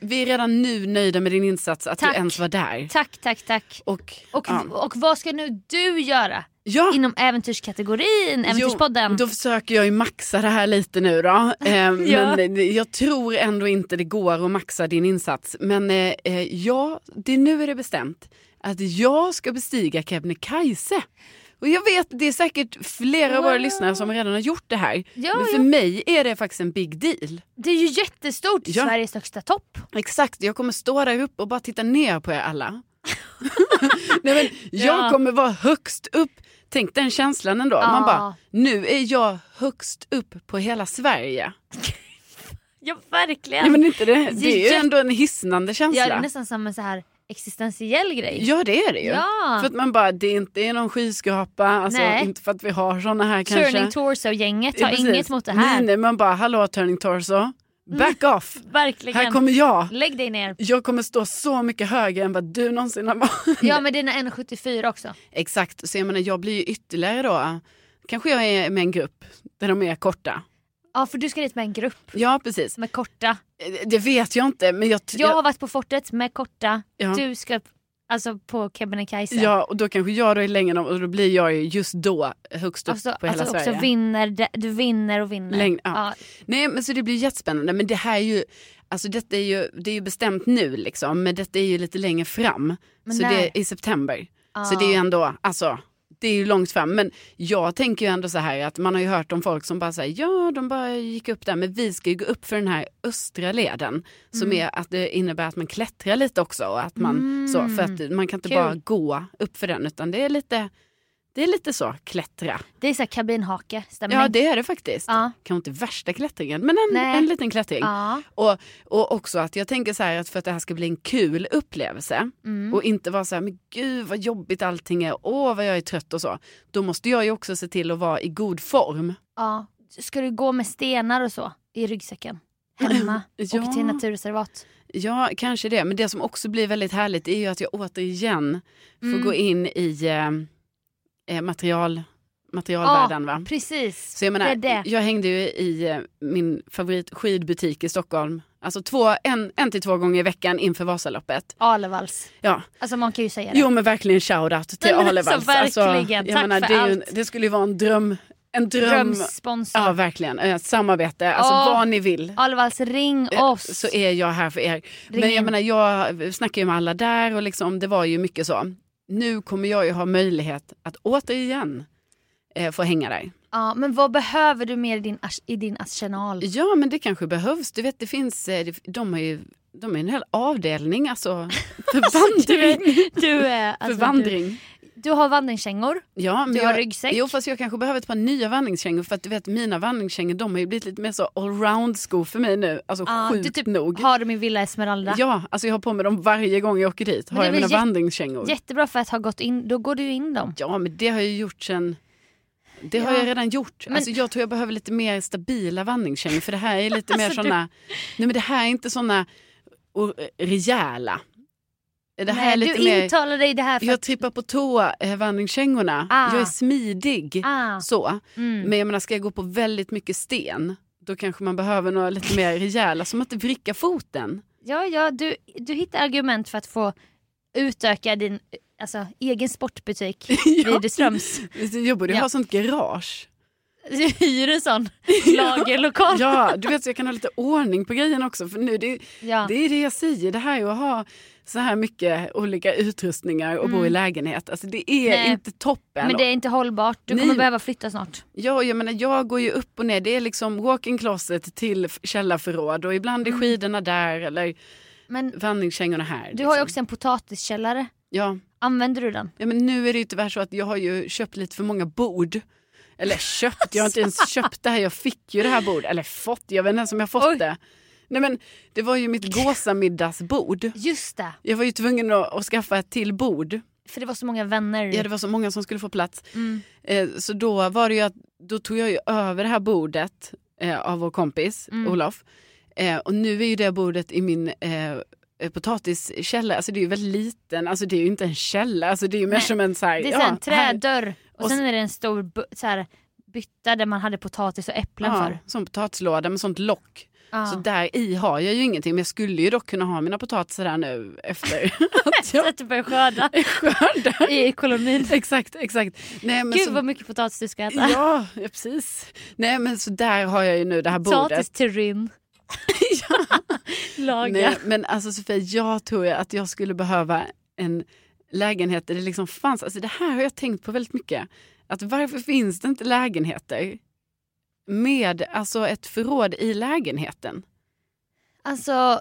Speaker 2: vi är redan nu nöjda med din insats, att
Speaker 3: Tack.
Speaker 2: du ens var där.
Speaker 3: Tack, tack, tack.
Speaker 2: Och,
Speaker 3: Och,
Speaker 2: ja.
Speaker 3: och vad ska nu du göra
Speaker 2: ja.
Speaker 3: inom äventyrskategorin, Äventyrspodden?
Speaker 2: Jo, då försöker jag ju maxa det här lite nu då. Eh,
Speaker 3: Ja.
Speaker 2: Men jag tror ändå inte det går att maxa din insats. Men eh, eh, ja, det, nu är det bestämt att jag ska bestiga Kebnekaise. Och jag vet, det är säkert flera av våra
Speaker 3: Wow.
Speaker 2: lyssnare som redan har gjort det här.
Speaker 3: Ja,
Speaker 2: men för
Speaker 3: ja.
Speaker 2: mig är det faktiskt en big deal.
Speaker 3: Det är ju jättestort,
Speaker 2: Ja.
Speaker 3: Sveriges högsta topp.
Speaker 2: Exakt, jag kommer stå där uppe och bara titta ner på er alla. Nej, men jag
Speaker 3: Ja.
Speaker 2: kommer vara högst upp. Tänk den känslan ändå. Man
Speaker 3: Ja.
Speaker 2: bara, nu är jag högst upp på hela Sverige.
Speaker 3: Ja, verkligen.
Speaker 2: Ja, men inte det.
Speaker 3: Det är
Speaker 2: det är ju
Speaker 3: jätte-
Speaker 2: ändå en hisnande
Speaker 3: Ja, det är
Speaker 2: känsla.
Speaker 3: nästan som en så här existentiell grej.
Speaker 2: Ja, det är det ju.
Speaker 3: Ja.
Speaker 2: För att man bara, det är inte är någon skyskrapa, alltså,
Speaker 3: Nej.
Speaker 2: inte för att vi har såna här kanske.
Speaker 3: Turning Torso-gänget
Speaker 2: Ja,
Speaker 3: har
Speaker 2: precis.
Speaker 3: inget mot det här. Mm.
Speaker 2: Nej, nej, man bara, hallå Turning Torso, back off,
Speaker 3: Verkligen.
Speaker 2: här kommer jag.
Speaker 3: Lägg dig ner.
Speaker 2: Jag kommer stå så mycket högre än vad du någonsin har varit.
Speaker 3: Ja men dina 1,74 också.
Speaker 2: Exakt, så jag menar jag blir ju ytterligare då, kanske jag är med en grupp där de är korta.
Speaker 3: Ja för du ska dit med en grupp
Speaker 2: Ja precis,
Speaker 3: med korta.
Speaker 2: det vet jag inte men jag...
Speaker 3: Jag har varit på fortet med korta.
Speaker 2: Ja.
Speaker 3: Du ska Alltså på Kebnekaise.
Speaker 2: Ja, och då kanske jag då är längre än dem och då blir jag ju just då högst upp
Speaker 3: alltså,
Speaker 2: på hela
Speaker 3: alltså
Speaker 2: Sverige.
Speaker 3: också vinner, de- du vinner och vinner.
Speaker 2: Läng- ja. Nej men så det blir jättespännande men det här är ju, alltså detta är ju, det är ju bestämt nu liksom men detta är ju lite längre fram.
Speaker 3: Men
Speaker 2: så
Speaker 3: när? Ah.
Speaker 2: det är i september.
Speaker 3: ja.
Speaker 2: Så det är ju ändå, alltså det är ju långt fram men jag tänker ju ändå så här att man har ju hört om folk som bara säger ja de bara gick upp där men vi ska ju gå upp för den här östra leden som
Speaker 3: Mm.
Speaker 2: är att det innebär att man klättrar lite också och att man så för att man kan inte
Speaker 3: Mm. Kul.
Speaker 2: bara gå upp för den utan det är lite det är lite så klättra.
Speaker 3: Det är så här kabinhake, stämmer
Speaker 2: Ja det är det faktiskt.
Speaker 3: Ja.
Speaker 2: Kanske inte värsta klättringen men en,
Speaker 3: Nej.
Speaker 2: en liten klättring.
Speaker 3: ja.
Speaker 2: Och, och också att jag tänker så här att för att det här ska bli en kul upplevelse
Speaker 3: Mm.
Speaker 2: och inte vara så här men gud vad jobbigt allting är, åh vad jag är trött och så. Då måste jag ju också se till att vara i god form.
Speaker 3: ja. Ska du gå med stenar och så i ryggsäcken? Hemma?
Speaker 2: Ja.
Speaker 3: Och till naturreservat?
Speaker 2: Ja, kanske det. Men det som också blir väldigt härligt är ju att jag återigen
Speaker 3: Mm.
Speaker 2: får gå in i eh, eh, material, materialvärlden. va?
Speaker 3: Precis,
Speaker 2: Så jag menar,
Speaker 3: det är det.
Speaker 2: jag hängde ju i eh, min favoritskidbutik i Stockholm, alltså två, en, en till två gånger i veckan inför Vasaloppet.
Speaker 3: Alevalls.
Speaker 2: Ja,
Speaker 3: Alltså man kan ju säga det.
Speaker 2: Jo men verkligen shoutout till
Speaker 3: Nej, men
Speaker 2: Ale Wals.
Speaker 3: alltså, verkligen.
Speaker 2: jag
Speaker 3: Tack
Speaker 2: menar,
Speaker 3: för
Speaker 2: det, är ju en,
Speaker 3: allt.
Speaker 2: det skulle ju vara en dröm. En dröm.
Speaker 3: Drömsponsor.
Speaker 2: Ja verkligen, ett samarbete. Alltså
Speaker 3: Åh.
Speaker 2: vad ni vill.
Speaker 3: Alvalds, ring
Speaker 2: eh,
Speaker 3: oss.
Speaker 2: Så är jag här för er. Men
Speaker 3: Ring
Speaker 2: jag
Speaker 3: in.
Speaker 2: menar jag snackar ju med alla där och liksom, det var ju mycket så. Nu kommer jag ju ha möjlighet att återigen eh, få hänga där.
Speaker 3: Ja, men vad behöver du mer i din, ars- i din arsenal?
Speaker 2: Ja men det kanske behövs. Du vet det finns, eh, det- de har ju de har ju en hel avdelning alltså. För
Speaker 3: Du
Speaker 2: vandring.
Speaker 3: är, du, är, alltså,
Speaker 2: för vandring.
Speaker 3: Du, du har vandringskängor.
Speaker 2: Ja, men
Speaker 3: Du har
Speaker 2: jag,
Speaker 3: ryggsäck.
Speaker 2: Jo, fast jag kanske behöver ett par nya vandringskängor för att du vet mina vandringskängor de har ju blivit lite mer så allround-skor för mig nu. Alltså
Speaker 3: Ja,
Speaker 2: sjukt
Speaker 3: du typ
Speaker 2: nog.
Speaker 3: har dem i Villa Esmeralda.
Speaker 2: Ja, alltså jag har på mig dem varje gång jag åker dit.
Speaker 3: Men
Speaker 2: Har jag
Speaker 3: det är väl
Speaker 2: mina
Speaker 3: jätte-
Speaker 2: vandringskängor.
Speaker 3: Jättebra för att ha gått in, då går du ju in dem.
Speaker 2: Ja, men det har jag ju gjort sen... Det har
Speaker 3: Ja.
Speaker 2: jag redan gjort.
Speaker 3: Men-
Speaker 2: Alltså jag tror jag behöver lite mer stabila vandringskängor för det här är lite mer
Speaker 3: Alltså, du-
Speaker 2: såna... Nej men det här är inte såna or- rejäla. Det här
Speaker 3: Nej,
Speaker 2: är lite
Speaker 3: du
Speaker 2: mer...
Speaker 3: intalar dig det här för
Speaker 2: Jag
Speaker 3: att...
Speaker 2: trippar på tå eh, vandringskängorna.
Speaker 3: Ah.
Speaker 2: Jag är smidig.
Speaker 3: Ah,
Speaker 2: Så.
Speaker 3: mm.
Speaker 2: Men jag menar, ska jag gå på väldigt mycket sten, då kanske man behöver några lite mer rejäla, som att vricka foten.
Speaker 3: Ja, ja, du, du hittar argument för att få utöka din alltså, egen sportbutik. Widerströms.
Speaker 2: Jag borde
Speaker 3: Ja.
Speaker 2: ha sånt garage.
Speaker 3: Hyr en sån lagerlokal.
Speaker 2: Ja, du vet så jag kan ha lite ordning på grejen också. För nu, det,
Speaker 3: Ja.
Speaker 2: det är det jag säger, det här är att ha så här mycket olika utrustningar och bo i lägenhet. Alltså det är
Speaker 3: Mm. Nej.
Speaker 2: inte toppen.
Speaker 3: Men det är inte hållbart, du
Speaker 2: Nej.
Speaker 3: kommer behöva flytta snart.
Speaker 2: Ja, jag menar jag går ju upp och ner. Det är liksom walk-in closet till f- källarförråd och ibland
Speaker 3: Mm.
Speaker 2: är skidorna där eller
Speaker 3: Men
Speaker 2: vandringskängorna här.
Speaker 3: du har ju
Speaker 2: liksom.
Speaker 3: också en potatiskällare,
Speaker 2: Ja.
Speaker 3: använder du den?
Speaker 2: Ja, men nu är det ju tyvärr så att jag har ju köpt lite för många bord. Eller köpt, jag har inte ens köpt det här. Jag fick ju det här bordet. Eller fått, jag vet inte ens om jag fått
Speaker 3: Oj.
Speaker 2: det. Nej men det var ju mitt gåsamiddagsbord.
Speaker 3: Just det,
Speaker 2: Jag var ju tvungen att, att skaffa ett till bord.
Speaker 3: för det var så många vänner.
Speaker 2: Ja, det var så många som skulle få plats.
Speaker 3: mm.
Speaker 2: Eh, så då var det ju att, då tog jag ju över det här bordet eh, av vår kompis
Speaker 3: Mm.
Speaker 2: Olof. Eh, och nu är ju det bordet i min eh, eh, potatiskällare. Alltså det är ju väldigt liten, alltså det är ju inte en källare. Alltså det är ju mer
Speaker 3: Nej,
Speaker 2: som en så här,
Speaker 3: Det är
Speaker 2: ja,
Speaker 3: så här en
Speaker 2: här-
Speaker 3: trädörr och,
Speaker 2: och
Speaker 3: sen är det en stor bu- så här, bytta där man hade potatis och äpplen för.
Speaker 2: som potatislåda med sånt lock.
Speaker 3: Ja.
Speaker 2: Så där i har jag ju ingenting men jag skulle ju dock kunna ha mina potatisar där nu efter att
Speaker 3: Så
Speaker 2: jag
Speaker 3: att du börjar skörda
Speaker 2: skördar.
Speaker 3: i kolonin.
Speaker 2: exakt, exakt. Nej, men
Speaker 3: Gud
Speaker 2: så,
Speaker 3: vad mycket potatis du ska äta.
Speaker 2: Ja, ja, precis. Nej men så där har jag ju nu det här bordet.
Speaker 3: potatis till ryn. Lager.
Speaker 2: Nej, men alltså Sofia, jag tror ju att jag skulle behöva en lägenhet där det liksom fanns, alltså det här har jag tänkt på väldigt mycket. Att varför finns det inte lägenheter med alltså ett förråd i lägenheten?
Speaker 3: Alltså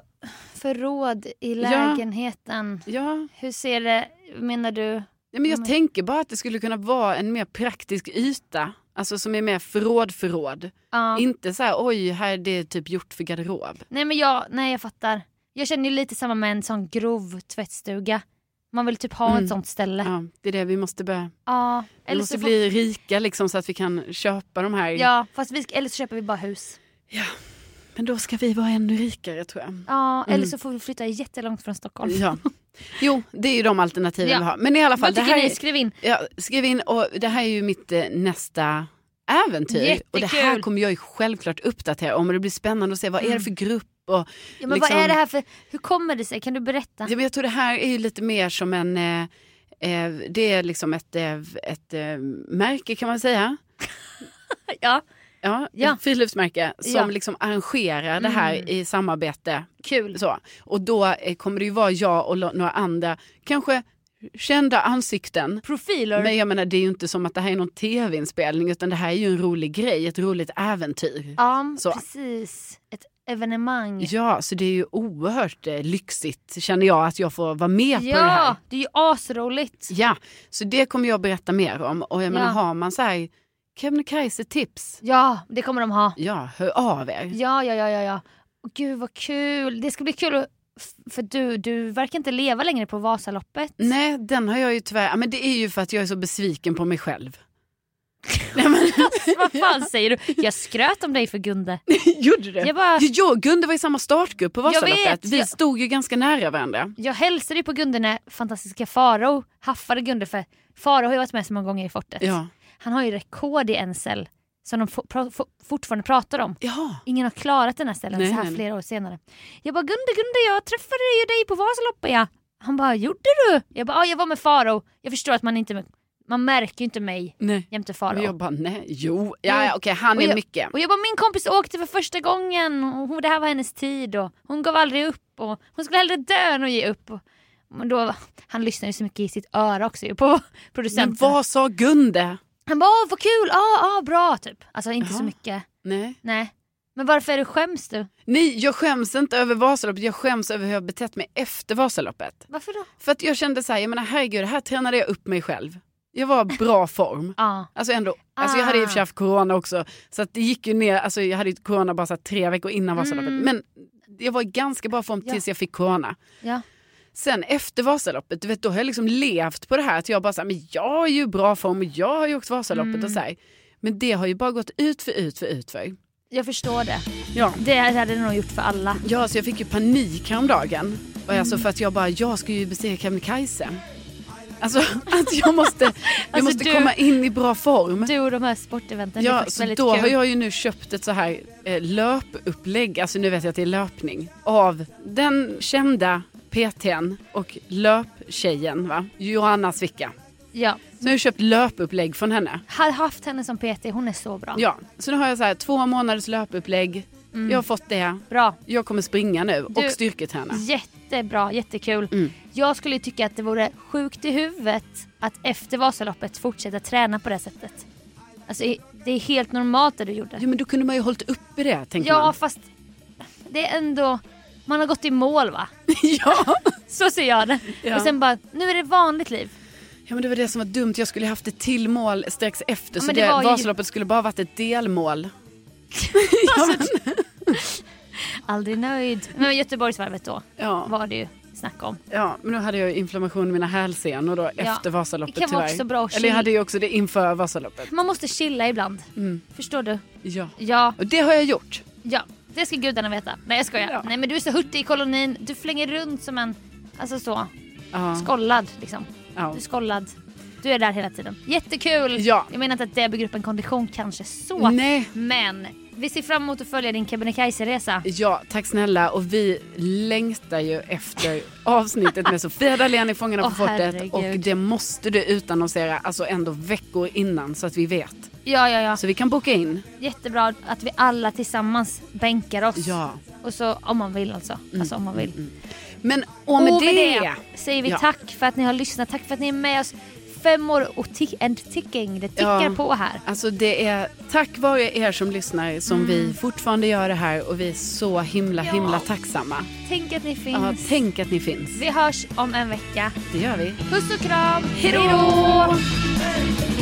Speaker 3: förråd i lägenheten.
Speaker 2: Ja,
Speaker 3: Hur ser det, menar du?
Speaker 2: Nej, men jag
Speaker 3: Mm.
Speaker 2: tänker bara att det skulle kunna vara en mer praktisk yta. Alltså som är mer förråd-förråd.
Speaker 3: Ja.
Speaker 2: Inte så här oj, här är det är typ gjort för garderob.
Speaker 3: Nej men jag, nej jag fattar. Jag känner ju lite samma med en sån grov tvättstuga. Man vill typ ha
Speaker 2: Mm.
Speaker 3: ett sånt ställe. Ja.
Speaker 2: Ja, det är det vi måste börja. Vi
Speaker 3: Eller,
Speaker 2: måste
Speaker 3: så
Speaker 2: bli rika liksom så att vi kan köpa de här.
Speaker 3: får, ja fast vi, eller så köper vi bara hus.
Speaker 2: Men då ska vi vara ännu rikare tror jag.
Speaker 3: Ja,
Speaker 2: Mm.
Speaker 3: eller så får vi flytta jättelångt från Stockholm.
Speaker 2: Ja. Jo, det är ju de alternativen
Speaker 3: Ja.
Speaker 2: vi har. Men i alla fall,
Speaker 3: Vad
Speaker 2: det
Speaker 3: tycker
Speaker 2: här,
Speaker 3: ni?
Speaker 2: är,
Speaker 3: Skriv in.
Speaker 2: ja, skriv in och det här är ju mitt eh, nästa äventyr. Och det här
Speaker 3: Jättekul. Mm.
Speaker 2: kommer jag ju självklart uppdatera om och det blir spännande att se vad är det för grupp Och
Speaker 3: Ja, men
Speaker 2: liksom-
Speaker 3: vad är det här för, hur kommer det sig? Kan du berätta?
Speaker 2: Ja, men Jag tror det här är ju lite mer som en... Eh, eh, det är liksom ett, eh, ett eh, märke kan man säga.
Speaker 3: Ja,
Speaker 2: Ja,
Speaker 3: Ja.
Speaker 2: Ett friluftsmärke som
Speaker 3: Ja.
Speaker 2: liksom arrangerar det här
Speaker 3: Mm.
Speaker 2: i samarbete.
Speaker 3: kul.
Speaker 2: Så. Och då eh, kommer det ju vara jag och lo- några andra, kanske kända ansikten.
Speaker 3: Profiler.
Speaker 2: Men jag menar det är ju inte som att det här är någon tv-inspelning utan det här är ju en rolig grej, ett roligt äventyr.
Speaker 3: ja,
Speaker 2: Så.
Speaker 3: precis. Ett evenemang.
Speaker 2: Ja, så det är ju oerhört eh, lyxigt känner jag att jag får vara med på det här.
Speaker 3: Ja, det är ju asroligt.
Speaker 2: Ja, så det kommer jag att berätta mer om. Och jag menar,
Speaker 3: Ja.
Speaker 2: har man så här Kebnekaise-tips,
Speaker 3: Ja, det kommer de ha.
Speaker 2: ja, hör av er.
Speaker 3: Ja, ja, ja, ja, ja. Åh, Gud vad kul. Det ska bli kul att, f- för du, du verkar inte leva längre på Vasaloppet.
Speaker 2: Nej, den har jag ju tyvärr... ja, Men det är ju för att jag är så besviken på mig själv. Nej, men,
Speaker 3: Vad fan säger du? Jag skröt om dig för Gunde.
Speaker 2: gjorde du?
Speaker 3: Jag bara,
Speaker 2: Jo, Jo, Gunde var i samma startgrupp på
Speaker 3: Jag vet,
Speaker 2: Vasaloppet. Vi
Speaker 3: jag-
Speaker 2: stod ju ganska nära varandra.
Speaker 3: jag hälsade ju på Gunde när fantastiska Farao haffade Gunde för Farao har ju varit med så många gånger i fortet.
Speaker 2: Ja.
Speaker 3: Han har ju rekord i NSL som de fo- pra- fo- fortfarande pratar om.
Speaker 2: Jaha.
Speaker 3: Ingen har klarat den här ställen
Speaker 2: Nej,
Speaker 3: så här
Speaker 2: nej.
Speaker 3: flera år senare. Jag bara Gunde, Gunde jag träffade ju dig på Vasaloppet ja. Han bara gjorde du? Jag bara ja jag var med Farao. Jag förstår att man inte, man märker ju inte mig
Speaker 2: Nej.
Speaker 3: jämte
Speaker 2: Men jag
Speaker 3: Farao.
Speaker 2: bara, nej, jo. Ja, ja, okej, han
Speaker 3: Och
Speaker 2: är
Speaker 3: jag-
Speaker 2: mycket.
Speaker 3: Och jag bara min kompis åkte för första gången och hon, det här var hennes tid och hon gav aldrig upp och hon skulle hellre dö än att ge upp. Och, men då, han lyssnade ju så mycket i sitt öra också ju på
Speaker 2: Men
Speaker 3: producenten.
Speaker 2: vad sa Gunde?
Speaker 3: Han bara åh vad kul, ah, ah, bra typ. Alltså inte så
Speaker 2: Jaha.
Speaker 3: mycket,
Speaker 2: Nej.
Speaker 3: nej. Men varför är du skäms du?
Speaker 2: nej, jag skäms inte över Vasaloppet. Jag skäms över hur jag betett mig efter Vasaloppet.
Speaker 3: Varför då?
Speaker 2: För att jag kände så här, jag menar herregud, här tränade jag upp mig själv. Jag var i bra form.
Speaker 3: Ja.
Speaker 2: Alltså ändå, alltså jag hade i och för
Speaker 3: Ah.
Speaker 2: sig haft corona också. Så att det gick ju ner, alltså jag hade ju corona bara så här tre veckor innan Vasaloppet.
Speaker 3: Mm.
Speaker 2: Men jag var i ganska bra form
Speaker 3: Ja.
Speaker 2: tills jag fick corona.
Speaker 3: ja.
Speaker 2: Sen efter Vasaloppet, du vet då har jag liksom levt på det här. Att jag bara så här, men jag är ju i bra form och jag har ju åkt Vasaloppet
Speaker 3: Mm.
Speaker 2: och så här. Men det har ju bara gått ut för ut för ut för.
Speaker 3: Jag förstår det.
Speaker 2: Ja.
Speaker 3: Det hade det nog gjort för alla.
Speaker 2: Ja, så jag fick ju panik häromdagen. Och Alltså för att jag bara, jag ska ju besegra Kebnekaise. Alltså att jag måste, jag
Speaker 3: Alltså,
Speaker 2: måste
Speaker 3: du-
Speaker 2: komma in i bra form.
Speaker 3: Du och de här sporteventen, det är
Speaker 2: ja,
Speaker 3: faktiskt
Speaker 2: så
Speaker 3: väldigt
Speaker 2: då
Speaker 3: kul.
Speaker 2: har jag ju nu köpt ett så här eh, löpupplägg, alltså nu vet jag att det är löpning, av den kända PTn och löptjejen va, Johanna Svicka.
Speaker 3: Ja.
Speaker 2: Så nu har jag köpt löpupplägg från henne.
Speaker 3: Har haft henne som PT, hon är så bra.
Speaker 2: Ja, så nu har jag så här två månaders löpupplägg, jag har fått det,
Speaker 3: Bra.
Speaker 2: jag kommer springa nu
Speaker 3: Mm. Du-
Speaker 2: och styrketräna.
Speaker 3: Jättebra, jättekul.
Speaker 2: Mm.
Speaker 3: Jag skulle ju tycka att det vore sjukt i huvudet att efter Vasaloppet fortsätta träna på det här sättet. Alltså i- det är helt normalt det du gjorde.
Speaker 2: Ja men då kunde man ju hållit uppe det tänker
Speaker 3: Ja
Speaker 2: man.
Speaker 3: fast det är ändå, man har gått i mål va?
Speaker 2: ja.
Speaker 3: Så ser jag det.
Speaker 2: Ja.
Speaker 3: Och sen bara, nu är det vanligt liv.
Speaker 2: ja men det var det som var dumt, jag skulle haft ett till mål strax efter
Speaker 3: Ja,
Speaker 2: så
Speaker 3: men det
Speaker 2: det
Speaker 3: var ju-
Speaker 2: Vasaloppet skulle bara varit ett delmål.
Speaker 3: Aldrig nöjd. Men Göteborgsvarvet då
Speaker 2: Ja,
Speaker 3: var det ju snack om.
Speaker 2: ja, men nu hade jag ju inflammation i mina hälsenor då
Speaker 3: Ja.
Speaker 2: efter Vasaloppet
Speaker 3: Det kan vara också bra att
Speaker 2: Eller jag
Speaker 3: chilla.
Speaker 2: hade ju också det inför Vasaloppet.
Speaker 3: Man måste chilla ibland.
Speaker 2: Mm.
Speaker 3: Förstår du?
Speaker 2: Ja.
Speaker 3: Ja,
Speaker 2: Och det har jag gjort.
Speaker 3: ja. Det ska gudarna veta. Nej jag skojar.
Speaker 2: Ja.
Speaker 3: Nej men du är så hurtig i kolonin. Du flänger runt som en, alltså så,
Speaker 2: Ja.
Speaker 3: skollad liksom.
Speaker 2: Ja.
Speaker 3: Du är skollad. Du är där hela tiden. Jättekul!
Speaker 2: Ja.
Speaker 3: Jag menar inte att det bygger upp en kondition kanske så.
Speaker 2: Nej.
Speaker 3: Men vi ser fram emot att följa din Kebnekaise-resa.
Speaker 2: Ja, tack snälla. Och vi längtar ju efter avsnittet med Sofia Dalén i Fångarna på
Speaker 3: Åh,
Speaker 2: fortet.
Speaker 3: herregud.
Speaker 2: Och det måste du utannonsera, alltså ändå veckor innan så att vi vet.
Speaker 3: Ja, ja, ja.
Speaker 2: Så vi kan boka in.
Speaker 3: Jättebra att vi alla tillsammans bänkar oss.
Speaker 2: Ja. Mm.
Speaker 3: Och så om man vill alltså. Alltså om man vill.
Speaker 2: Men och med,
Speaker 3: Och med
Speaker 2: det,
Speaker 3: det säger vi
Speaker 2: Ja.
Speaker 3: tack för att ni har lyssnat. Tack för att ni är med oss. Fem år och tick and ticking. Det tickar
Speaker 2: Ja.
Speaker 3: på här.
Speaker 2: Alltså det är tack vare er som lyssnar som vi fortfarande gör det här och vi är så himla
Speaker 3: Mm. Ja.
Speaker 2: himla tacksamma.
Speaker 3: Tänk att ni finns.
Speaker 2: Ja, tänk att ni finns.
Speaker 3: Vi hörs om en vecka.
Speaker 2: Det gör vi.
Speaker 3: Puss och kram.
Speaker 2: Hejdå!
Speaker 3: Hejdå!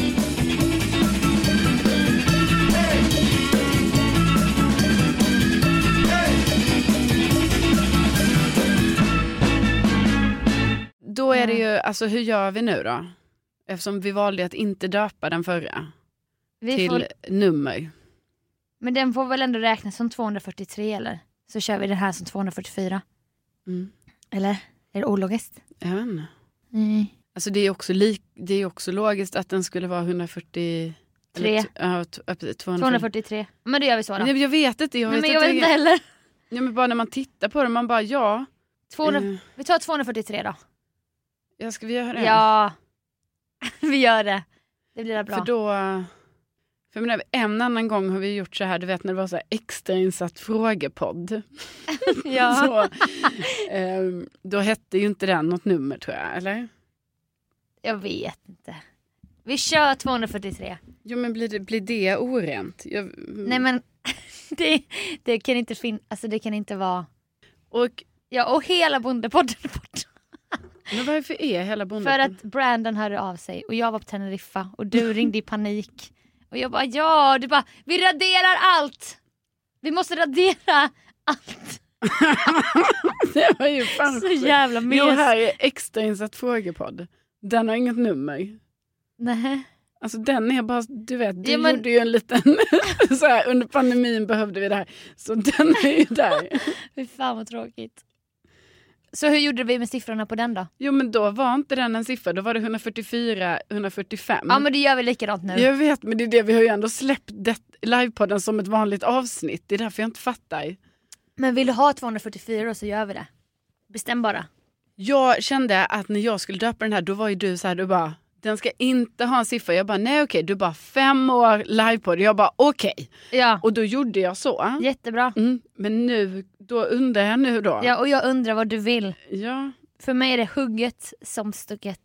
Speaker 2: Då är det ju, alltså hur gör vi nu då? Eftersom vi valde att inte döpa den förra
Speaker 3: Vi
Speaker 2: till
Speaker 3: får,
Speaker 2: nummer.
Speaker 3: men den får väl ändå räknas som 243 eller? Så kör vi den här som 244.
Speaker 2: Mm.
Speaker 3: Eller? Är det ologiskt?
Speaker 2: Jag vet inte.
Speaker 3: Nej.
Speaker 2: Alltså det är ju också, lik, det är ju också logiskt att den skulle vara 140...
Speaker 3: Tre.
Speaker 2: Eller, t- ja, t- 240.
Speaker 3: 243. Men då gör vi så då.
Speaker 2: Nej, men jag vet inte. Jag vet
Speaker 3: Nej, men jag vet
Speaker 2: inte.
Speaker 3: inte heller.
Speaker 2: Ja, men bara när man tittar på det, man bara ja.
Speaker 3: 200,
Speaker 2: eh,
Speaker 3: Vi tar 243 då.
Speaker 2: jag ska vi göra det?
Speaker 3: Ja. vi gör det. Det blir bra.
Speaker 2: För då... För jag menar, en annan gång har vi gjort så här, du vet när det var så här extrainsatt frågepodd.
Speaker 3: ja.
Speaker 2: Så, ehm, då hette ju inte den något nummer tror jag, eller?
Speaker 3: Jag vet inte. Vi kör 243.
Speaker 2: Jo men blir det, blir det orent? Jag,
Speaker 3: Nej men det, det kan inte finnas, alltså det kan inte vara.
Speaker 2: Och
Speaker 3: Ja och hela Bondepodden är borta.
Speaker 2: men varför är E, hela bonden...
Speaker 3: För att Brandon hörde av sig och jag var på Teneriffa och du ringde i panik. Och jag bara ja, du bara vi raderar allt. Vi måste radera allt.
Speaker 2: det var ju fan
Speaker 3: Så
Speaker 2: sjukt.
Speaker 3: jävla
Speaker 2: Jo,
Speaker 3: mes.
Speaker 2: här är extrainsatt frågepodd. Den har inget nummer.
Speaker 3: Nej.
Speaker 2: Alltså den är bara, du vet, du
Speaker 3: Ja, men-
Speaker 2: gjorde ju en liten, så här, under pandemin behövde vi det här. Så den är ju där.
Speaker 3: Fy fan vad tråkigt. Så hur gjorde vi med siffrorna på den då?
Speaker 2: Jo men då var inte den en siffra, då var det 144, 145.
Speaker 3: Ja men det gör vi likadant nu.
Speaker 2: Jag vet, men det är det, vi har ju ändå släppt det, livepodden som ett vanligt avsnitt. Det är därför jag inte fattar.
Speaker 3: Men vill du ha 244 så gör vi det. Bestäm bara.
Speaker 2: Jag kände att när jag skulle döpa den här, då var ju du så här, du bara, den ska inte ha en siffra. Jag bara, nej okej, du bara, fem år livepodd. Jag bara, okej.
Speaker 3: Ja,
Speaker 2: Och då gjorde jag så.
Speaker 3: jättebra.
Speaker 2: Mm, men nu, då undrar jag nu då.
Speaker 3: Ja, och jag undrar vad du vill.
Speaker 2: ja.
Speaker 3: För mig är det hugget som stucket.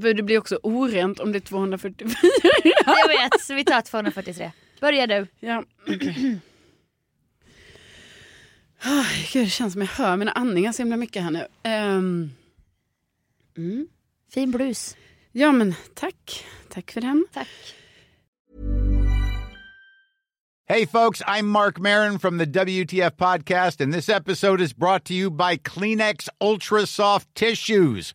Speaker 2: För Det blir också orent om det är 244.
Speaker 3: Jag vet, så vi tar 243. Börja du.
Speaker 2: Ja. Ah, Gud, det känns som jag hör mina andningar så himla mycket här nu. Ehm, mm.
Speaker 3: Fin blus.
Speaker 2: Ja, men tack. Tack för den.
Speaker 3: Tack.
Speaker 4: Hey, folks, I'm Mark Marin from the WTF Podcast, and this episode is brought to you by Kleenex Ultra Soft Tissues,